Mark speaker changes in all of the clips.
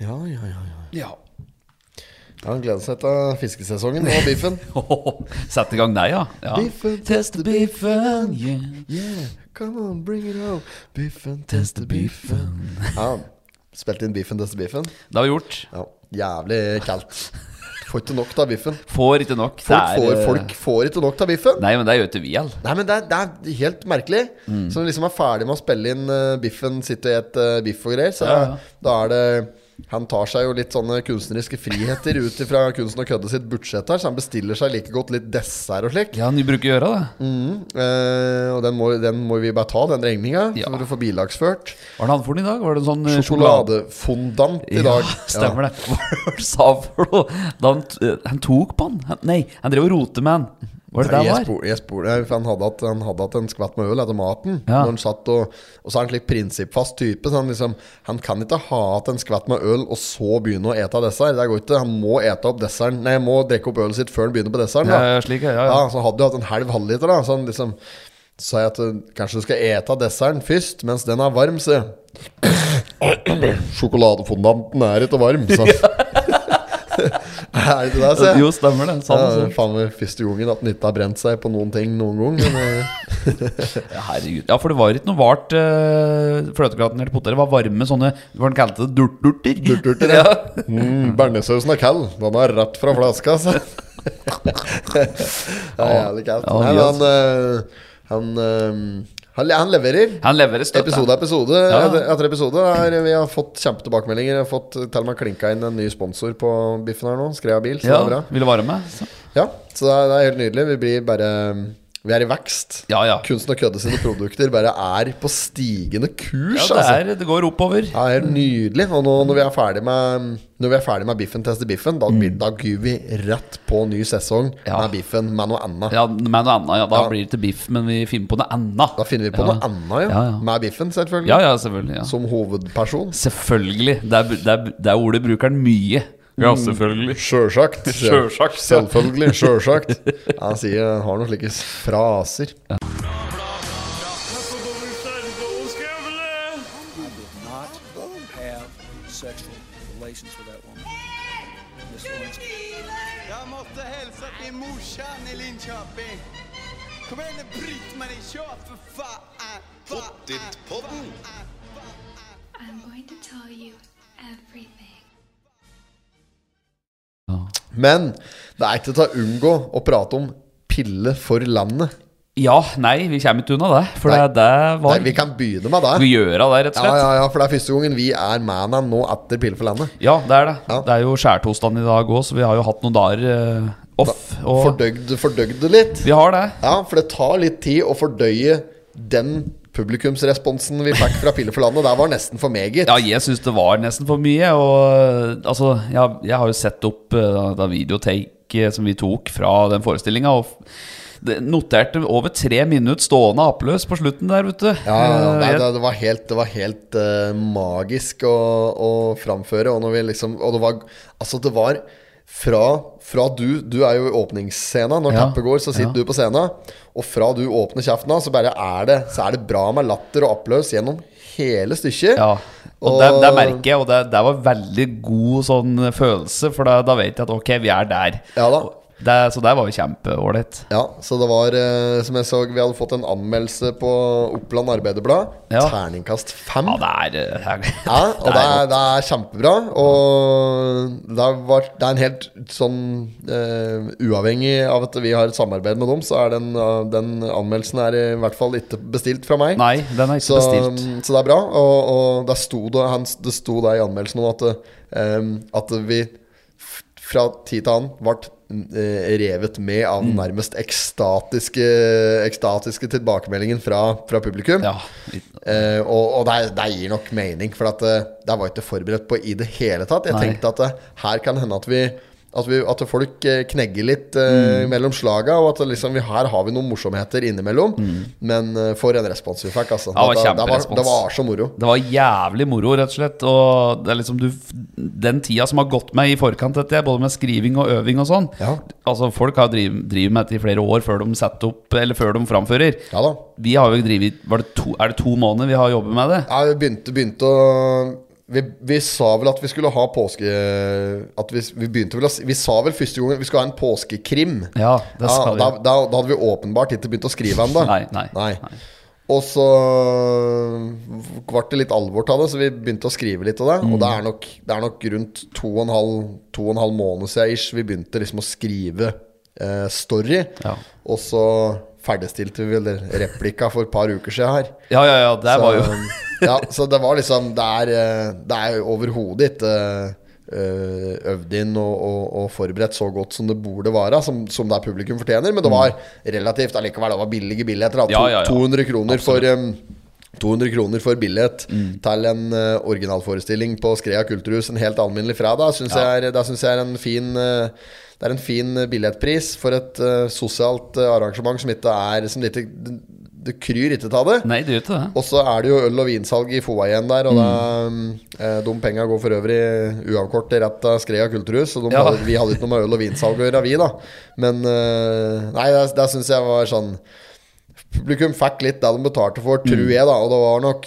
Speaker 1: Ja, ja, ja, ja.
Speaker 2: Ja.
Speaker 1: Han gleder seg til fiskesesongen og biffen.
Speaker 2: Sette i gang deg, ja. ja.
Speaker 1: Biffen,
Speaker 2: Test the biffen, yeah.
Speaker 1: Yeah, come on, bring it home. Biffen, teste biffen. Ja, spilte inn biffen, teste biffen.
Speaker 2: Det har vi gjort.
Speaker 1: Ja, jævlig kaldt. Får ikke nok av biffen.
Speaker 2: Får ikke nok. Det
Speaker 1: Folk
Speaker 2: er,
Speaker 1: får,
Speaker 2: eh,
Speaker 1: folk får ikke nok av biffen.
Speaker 2: Nei, men det gjør ikke vi all.
Speaker 1: Nei, men det er, det er helt merkelig.
Speaker 2: Mm.
Speaker 1: Så når du liksom er ferdig med å spille inn eh, biffen, sitte og et eh, biff og greier, så
Speaker 2: Ja, ja.
Speaker 1: da er det han tar seg jo litt sånne kunstneriske friheter ut ifra kunsten og kødde sitt budsjett her, så han bestiller seg like godt litt dessert og slik.
Speaker 2: Ja, du bruker å gjøre det.
Speaker 1: Mm, eh, og den må, den må vi bare ta, den regninga,
Speaker 2: Ja.
Speaker 1: for å få bilagsført.
Speaker 2: Hva er det han for den i dag? Var det en sånn eh,
Speaker 1: Sjokoladefondant i dag.
Speaker 2: Ja, stemmer det. Hva sa han for noe? Da han, t- eh, han tok på han? han? Nei, han drev og rotet med han. Var det
Speaker 1: Nei,
Speaker 2: det
Speaker 1: jeg
Speaker 2: han var?
Speaker 1: spor- jeg spor- nei, for han hadde hatt han hadde hatt en skvatt med øl etter maten.
Speaker 2: Ja.
Speaker 1: Når han satt og, og så er han slik prinsippfast type. Så han, liksom, han kan ikke ha hatt en skvatt med øl og så begynne å ete dessert. Det går ikke. Han må ete opp desserten Nei, må drikke opp ølet sitt før han begynner på desserten.
Speaker 2: Ja,
Speaker 1: Da.
Speaker 2: ja, slik, ja, ja.
Speaker 1: Ja,
Speaker 2: ja.
Speaker 1: så hadde du hatt en halv halvliter, da. Så han liksom sa jeg at eh, kanskje du skal ete desserten først, mens den er varm, så Sjokoladefondanten er ikke varm, sa han. er det ikke det, sa jeg?
Speaker 2: Jo, stemmer det. Sånn,
Speaker 1: Ja,
Speaker 2: sånn.
Speaker 1: faen meg første gangen at den ikke har brent seg på noen ting noen gang. Men, eh,
Speaker 2: Ja, herregud. Ja, for det var ikke noe vart uh, fløtegratin eller poteter. Det var varme sånne Hva han kalte det? Durtdurter?
Speaker 1: Durtdurter,
Speaker 2: ja.
Speaker 1: mm, Bernesausen er kald. Den er rett fra flaska, altså. det er jævlig kaldt.
Speaker 2: Ja,
Speaker 1: Nei, men
Speaker 2: mye,
Speaker 1: han, eh, han, eh, han, han leverer.
Speaker 2: Han leverer støtte.
Speaker 1: Episode episode
Speaker 2: Ja.
Speaker 1: etter- etter episode. er- vi har fått kjempetilbakemeldinger. Vi har fått eh, til og med klinka inn en ny sponsor på biffen her nå. Skrea bil. Så
Speaker 2: Ja,
Speaker 1: det er bra.
Speaker 2: ville være med. Så.
Speaker 1: Ja, så det er, det er helt nydelig. Vi blir bare Vi er i vekst.
Speaker 2: Ja, ja.
Speaker 1: Kunsten og kødde sine produkter bare er på stigende kurs,
Speaker 2: Ja,
Speaker 1: det
Speaker 2: det,
Speaker 1: altså.
Speaker 2: er, det går oppover.
Speaker 1: Ja, det er helt nydelig. Og nå når vi er ferdig med Når vi er ferdig med biffen tester biffen, da, blir- da gyr vi rett på ny sesong
Speaker 2: Mm. Ja.
Speaker 1: med biffen med noe annet.
Speaker 2: Ja, med noe annet. Ja, da
Speaker 1: Ja.
Speaker 2: blir det til biff, men vi finner på noe annet.
Speaker 1: Da finner vi på
Speaker 2: ja.
Speaker 1: noe annet, ja.
Speaker 2: Ja, ja.
Speaker 1: Med biffen, selvfølgelig.
Speaker 2: Ja, ja, selvfølgelig. Ja.
Speaker 1: Som hovedperson.
Speaker 2: Selvfølgelig. Det er, det er, det er ordet bruker den mye. Ja, selvfølgelig.
Speaker 1: Sjølsagt.
Speaker 2: Sjølsagt, ja.
Speaker 1: Selvfølgelig. Sjølsagt. Ja, Han sier han har noen slike fraser.
Speaker 3: not have sexual relations with that woman. Miss Lewinsky.
Speaker 4: Jeg måtte hilse til morsan i Linköping. Kom igjen, Britt-Marie, kjør, for faen! Pottit-podden.
Speaker 5: I'm going to tell you everything.
Speaker 1: Men det er ikke til å unngå å prate om pille for landet.
Speaker 2: Mm. Ja, nei, vi kommer ikke unna det. For det, det
Speaker 1: Nei,
Speaker 2: var
Speaker 1: vi kan begynne med det.
Speaker 2: vi gjør av det, rett og
Speaker 1: Ja,
Speaker 2: slett.
Speaker 1: ja, ja, for det er første gangen vi er med deg nå etter Pille for landet.
Speaker 2: Ja, det er det.
Speaker 1: Ja.
Speaker 2: Det er jo skjærtorsdagen i dag òg, så vi har jo hatt noen dager eh, off. Og
Speaker 1: Fordøyd, fordøyd det litt.
Speaker 2: vi har det.
Speaker 1: Ja, for det tar litt tid å fordøye den publikumsresponsen vi fikk fra Pille for landet. Der var nesten for meget.
Speaker 2: Ja, jeg syns det var nesten for mye. Og altså, jeg, jeg har jo sett opp eh, da videotake eh, som vi tok fra den forestillinga, og f- det noterte over tre minutter stående apeløs på slutten der, vet du.
Speaker 1: Ja, ja, ja.
Speaker 2: Eh,
Speaker 1: Nei,
Speaker 2: jeg-
Speaker 1: det, det var helt, det var helt eh, magisk å, å framføre. Og, når vi liksom, og det var Altså, det var fra, fra du Du er jo i åpningsscena. Når
Speaker 2: Ja,
Speaker 1: teppet går, så sitter
Speaker 2: ja.
Speaker 1: du på scenen. Og fra du åpner kjeften av, så bare er det Så er det bra med latter og applaus gjennom hele stykket.
Speaker 2: ja. Og det, det merker jeg, og det, det var veldig god sånn følelse, for da, da vet jeg at ok, vi er der.
Speaker 1: Ja da.
Speaker 2: Og Det, så det var jo kjempeålreit.
Speaker 1: Ja, så det var eh, Som jeg så, vi hadde fått en anmeldelse på Oppland Arbeiderblad.
Speaker 2: Ja.
Speaker 1: Terningkast fem.
Speaker 2: Ja, det er eh,
Speaker 1: Ja, og det er, det er kjempebra. Og det, har vært, det er en helt sånn eh, Uavhengig av at vi har et samarbeid med dem, så er den, eh, den anmeldelsen er i hvert fall ikke bestilt fra meg.
Speaker 2: Nei, den er ikke
Speaker 1: Så, mm,
Speaker 2: bestilt.
Speaker 1: så det er bra. Og, og der sto det, han, det sto der i anmeldelsen om at, eh, at vi f- fra tid til annen ble eh, revet med av
Speaker 2: Mm.
Speaker 1: den nærmest ekstatiske, ekstatiske tilbakemeldingen fra, fra publikum.
Speaker 2: Ja, litt-
Speaker 1: Eh, og og det, er- det gir nok mening, for at, eh, det var jeg ikke forberedt på i det hele tatt. Jeg
Speaker 2: Nei.
Speaker 1: tenkte at eh, her kan hende at vi at, vi, at folk eh, knegger litt eh,
Speaker 2: Mm.
Speaker 1: mellom slaga, og at det liksom, vi, her har vi noen morsomheter innimellom.
Speaker 2: Mm.
Speaker 1: Men eh, for en respons vi fikk, altså.
Speaker 2: Ja, det var
Speaker 1: Da- da- det,
Speaker 2: kjemperespons.
Speaker 1: var, det var så moro.
Speaker 2: Det var jævlig moro, rett og slett. Og det er liksom du, den tida som har gått meg i forkant, dette, her, både med skriving og øving og sånn
Speaker 1: Ja.
Speaker 2: Altså Folk har driv- drevet med dette i flere år før de setter opp Eller før de framfører.
Speaker 1: Ja da.
Speaker 2: Vi har jo drevet var det to, Er det to måneder vi har jobbet med det?
Speaker 1: Ja, vi begynte, begynte å vi, vi sa vel at vi skulle ha påske... At vi, vi begynte vel å si Vi sa vel første gangen vi skulle ha en påskekrim.
Speaker 2: Ja,
Speaker 1: Ja,
Speaker 2: det skal
Speaker 1: da,
Speaker 2: vi.
Speaker 1: da, da hadde vi åpenbart ikke begynt å skrive ennå.
Speaker 2: Nei, nei, nei.
Speaker 1: Og så ble det litt alvor av det, så vi begynte å skrive litt av det. Og
Speaker 2: Mm.
Speaker 1: det er nok, det er nok rundt to og en halv, to og en halv måned siden ish, vi begynte liksom å skrive eh, story.
Speaker 2: Ja.
Speaker 1: Og så ferdigstilte vi vel replikka for et par uker siden her.
Speaker 2: Ja, ja, ja, det
Speaker 1: så, um,
Speaker 2: var jo
Speaker 1: ja, så det var liksom Det er, eh, det er overhodet ikke eh, øvd inn og, og, og forberedt så godt som det burde være, som, som det er publikum fortjener. Men det var relativt allikevel. Det var billige billetter. da. To,
Speaker 2: Ja, ja, ja.
Speaker 1: 200 kroner for em, 200 kroner for billett
Speaker 2: Mm.
Speaker 1: til en eh, originalforestilling på Skrea kulturhus en helt alminnelig fredag, syns jeg, er- det synes jeg er en fin eh, det er en fin eh, billettpris for et eh, sosialt eh, arrangement som ikke er som det, ikke, det, det kryr ikke av det.
Speaker 2: Nei, det gjør ikke det.
Speaker 1: Og så er det jo øl- og vinsalg i FOA igjen der, og
Speaker 2: Mm.
Speaker 1: da, eh, de penga går for øvrig uavkort rett til Skrea kulturhus, så de
Speaker 2: Ja.
Speaker 1: hadde, vi hadde ikke noe med øl og vinsalg å gjøre, vi, da. Men eh, nei, det, det syns jeg var sånn Publikum fikk litt det de betalte for, tror
Speaker 2: Mm.
Speaker 1: jeg, da, og det var nok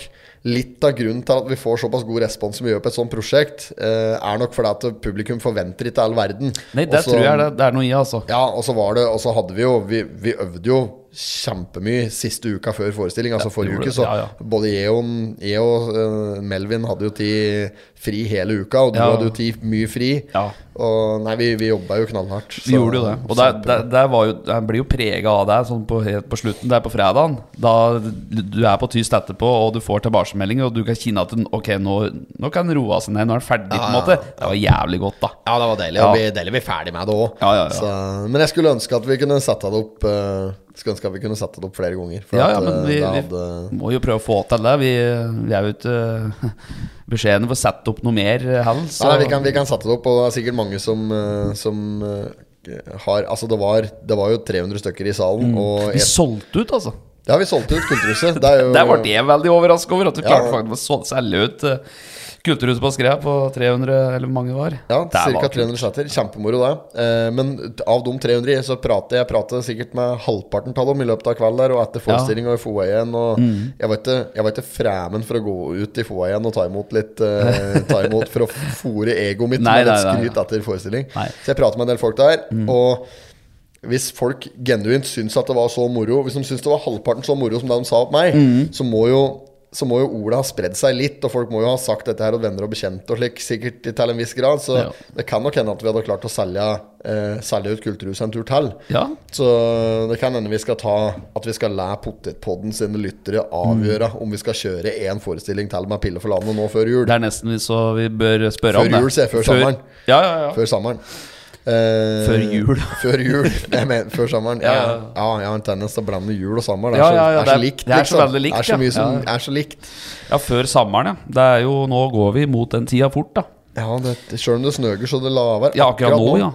Speaker 1: Litt av grunnen til at vi får såpass god respons som vi gjør på et sånt prosjekt, eh, er nok fordi at publikum forventer ikke all verden.
Speaker 2: Nei, det
Speaker 1: Også-
Speaker 2: tror jeg det, det er noe i, altså.
Speaker 1: ja, og så var det Og så hadde vi jo Vi, vi øvde jo kjempemye siste uka før forestilling, altså forrige
Speaker 2: gjorde
Speaker 1: uke.
Speaker 2: det.
Speaker 1: Så
Speaker 2: Ja, ja.
Speaker 1: både jeg og, jeg og eh, Melvin hadde jo tid fri hele uka, og du
Speaker 2: Ja.
Speaker 1: hadde jo tid mye fri.
Speaker 2: Ja.
Speaker 1: Og nei, vi, vi jobba jo knallhardt.
Speaker 2: Vi gjorde jo det. Og det, det, det var jo, jeg blir jo prega av det sånn på, helt på slutten der på fredagen. Da du er på tyst etterpå, og du får tilbakemeldinger, og du kan kjenne at den, Ok, nå, nå kan den roe seg ned. Nå er den ferdig, på en måte. Det var jævlig godt, da.
Speaker 1: Ja, det var deilig.
Speaker 2: Ja.
Speaker 1: Og vi deilig vi er ferdig med det òg.
Speaker 2: Ja, ja, ja.
Speaker 1: Men jeg skulle ønske at vi kunne sette det opp eh, Skulle ønske at vi kunne sette det opp flere ganger. For
Speaker 2: Ja,
Speaker 1: at,
Speaker 2: ja, men
Speaker 1: eh,
Speaker 2: vi,
Speaker 1: det
Speaker 2: vi må jo prøve å få til det. Vi, vi er jo ikke eh, beskjedne for å sette opp noe mer eh, heller.
Speaker 1: Nei, nei, vi, kan, vi kan sette det opp, og det er sikkert mange som, eh, som eh, har Altså, det var, det var jo 300 stykker i salen, og
Speaker 2: Vi
Speaker 1: et,
Speaker 2: solgte ut, altså.
Speaker 1: Ja, vi solgte ut Kulturhuset. Det er jo
Speaker 2: Der ble jeg veldig overraska over at vi
Speaker 1: Ja.
Speaker 2: klarte faktisk å sol- selge ut eh, Kulturhuset på Skrea på 300, eller hvor mange det var.
Speaker 1: ja,
Speaker 2: Det
Speaker 1: ca.
Speaker 2: var kult.
Speaker 1: 300 seter. Kjempemoro, det. Eh, men t- av de 300 så prater jeg prater sikkert med halvparten av dem i løpet av kvelden der, og etter forestilling og i FOA igjen. Og
Speaker 2: Mm.
Speaker 1: jeg, var ikke, jeg var ikke fremen for å gå ut i FOA igjen og ta imot litt eh, Ta imot for å fòre egoet mitt
Speaker 2: Nei,
Speaker 1: med litt
Speaker 2: nei, nei,
Speaker 1: skryt etter forestilling.
Speaker 2: Nei. Mm.
Speaker 1: Så jeg prater med en del folk der. Og hvis folk genuint syns at det var så moro Hvis de syns det var halvparten så moro som det de sa om meg,
Speaker 2: Mm.
Speaker 1: så må jo så må jo ordet ha spredd seg litt, og folk må jo ha sagt dette her, og venner og bekjente og slik, sikkert til en viss grad. Så
Speaker 2: Ja.
Speaker 1: det kan nok hende at vi hadde klart å selge, eh, selge ut Kulturhuset en tur til.
Speaker 2: Ja.
Speaker 1: Så det kan hende vi skal ta at vi skal la Potetpodden sine lyttere avgjøre om vi skal kjøre én forestilling til med Pille for landet nå før jul.
Speaker 2: Det er nesten vi- så vi bør spørre
Speaker 1: Før
Speaker 2: om det.
Speaker 1: jul, sier jeg, før sommeren.
Speaker 2: Ja, ja, ja.
Speaker 1: Før sommeren. Eh,
Speaker 2: Før jul.
Speaker 1: før jul, jeg mener, før sommeren. Ja,
Speaker 2: Ja, ja.
Speaker 1: ja. jeg har en tendens til å blande jul og sommer. Det er
Speaker 2: Ja,
Speaker 1: så,
Speaker 2: ja, ja,
Speaker 1: er så
Speaker 2: det er-
Speaker 1: likt,
Speaker 2: det er så
Speaker 1: liksom.
Speaker 2: veldig likt,
Speaker 1: Det er så
Speaker 2: ja.
Speaker 1: mye som
Speaker 2: Ja, ja.
Speaker 1: er så likt.
Speaker 2: ja, før sommeren, ja. Det er jo, nå går vi mot den tida fort, da.
Speaker 1: Ja, det, selv om det snøger så det laver
Speaker 2: Ja, akkurat nå, ja.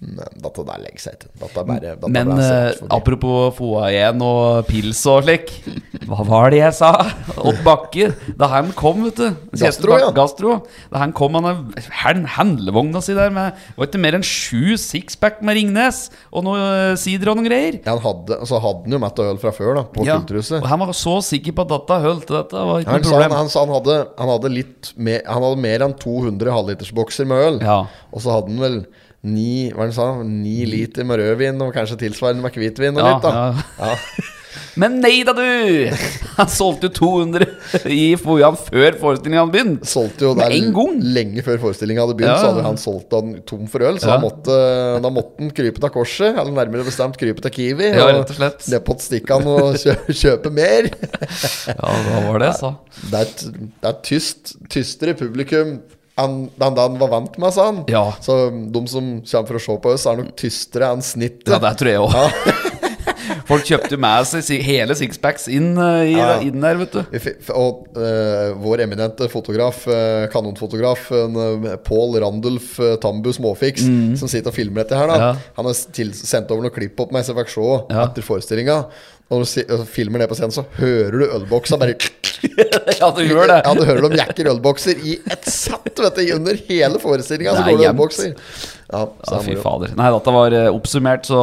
Speaker 1: Nei, dette der legger seg ikke. Dette er bare dette er
Speaker 2: Men
Speaker 1: bare
Speaker 2: eh,
Speaker 1: sett forbi.
Speaker 2: apropos FOA igjen og pils og slik. Hva var det jeg sa? Odd Bakke. Da han kom, vet du. Kjetil
Speaker 1: Gastro, ja.
Speaker 2: Bakke- Gastro. Da han kom, han hadde handlevogna si der med det var ikke mer enn sju sixpack med Ringnes og noe eh, sider og noen greier.
Speaker 1: Ja, han hadde, så hadde han jo mett og øl fra før, da, på
Speaker 2: Ja,
Speaker 1: Kulturhuset.
Speaker 2: Og han var så sikker på at dette holdt. Dette var ikke
Speaker 1: Han
Speaker 2: noe
Speaker 1: sa, han,
Speaker 2: problem.
Speaker 1: han, sa han, hadde, han, hadde litt mer, han hadde mer enn 200 halvlitersbokser med øl.
Speaker 2: Ja.
Speaker 1: Og så hadde han vel ni, hva er det han sa, ni liter med rødvin og kanskje tilsvarende med hvitvin og
Speaker 2: Ja,
Speaker 1: litt, da. Ja.
Speaker 2: Men nei da, du! Han solgte jo 200 i FOIAen før forestillingen hadde begynt.
Speaker 1: solgte jo
Speaker 2: Med
Speaker 1: der
Speaker 2: en gang.
Speaker 1: lenge før forestillingen hadde begynt,
Speaker 2: Ja, ja,
Speaker 1: så
Speaker 2: ja.
Speaker 1: hadde han solgt han tom for øl. Så
Speaker 2: Ja.
Speaker 1: da, måtte, da måtte han krype til korset, eller nærmere bestemt krype til Kiwi.
Speaker 2: Ja, rett og slett.
Speaker 1: Nepotstikke han og kjø, kjøpe mer.
Speaker 2: Ja, hva var det jeg sa?
Speaker 1: Det er, et- det er et tyst, tystere publikum enn enn det han var vant med, sa han.
Speaker 2: Ja.
Speaker 1: Så de som kommer for å se på oss, er nok tystere enn snittet.
Speaker 2: Ja, det tror jeg òg. Folk kjøpte jo med seg si- hele sixpacks inn, eh, i,
Speaker 1: Ja.
Speaker 2: inn der, vet du.
Speaker 1: Vi fi- f- Og eh, vår eminente fotograf, eh, kanonfotograf uh, Pål Randulf eh, Tambu Småfiks, som sitter og filmer dette her, da.
Speaker 2: Mm. Ja.
Speaker 1: Han har s- til, sendt over noen klipp opp meg, så jeg fikk se
Speaker 2: Ja.
Speaker 1: etter forestillinga. Og når du si, og filmer det på scenen, så hører du ølboksa bare
Speaker 2: ja, du gjør det.
Speaker 1: Ja, du hører dem jekker ølbokser i et sett, vet du. Under hele forestillinga så
Speaker 2: Det er
Speaker 1: går det
Speaker 2: jevnt.
Speaker 1: ølbokser. Ja, så
Speaker 2: Ja,
Speaker 1: er det
Speaker 2: fy
Speaker 1: moro.
Speaker 2: fader. Nei, dette var eh, oppsummert, så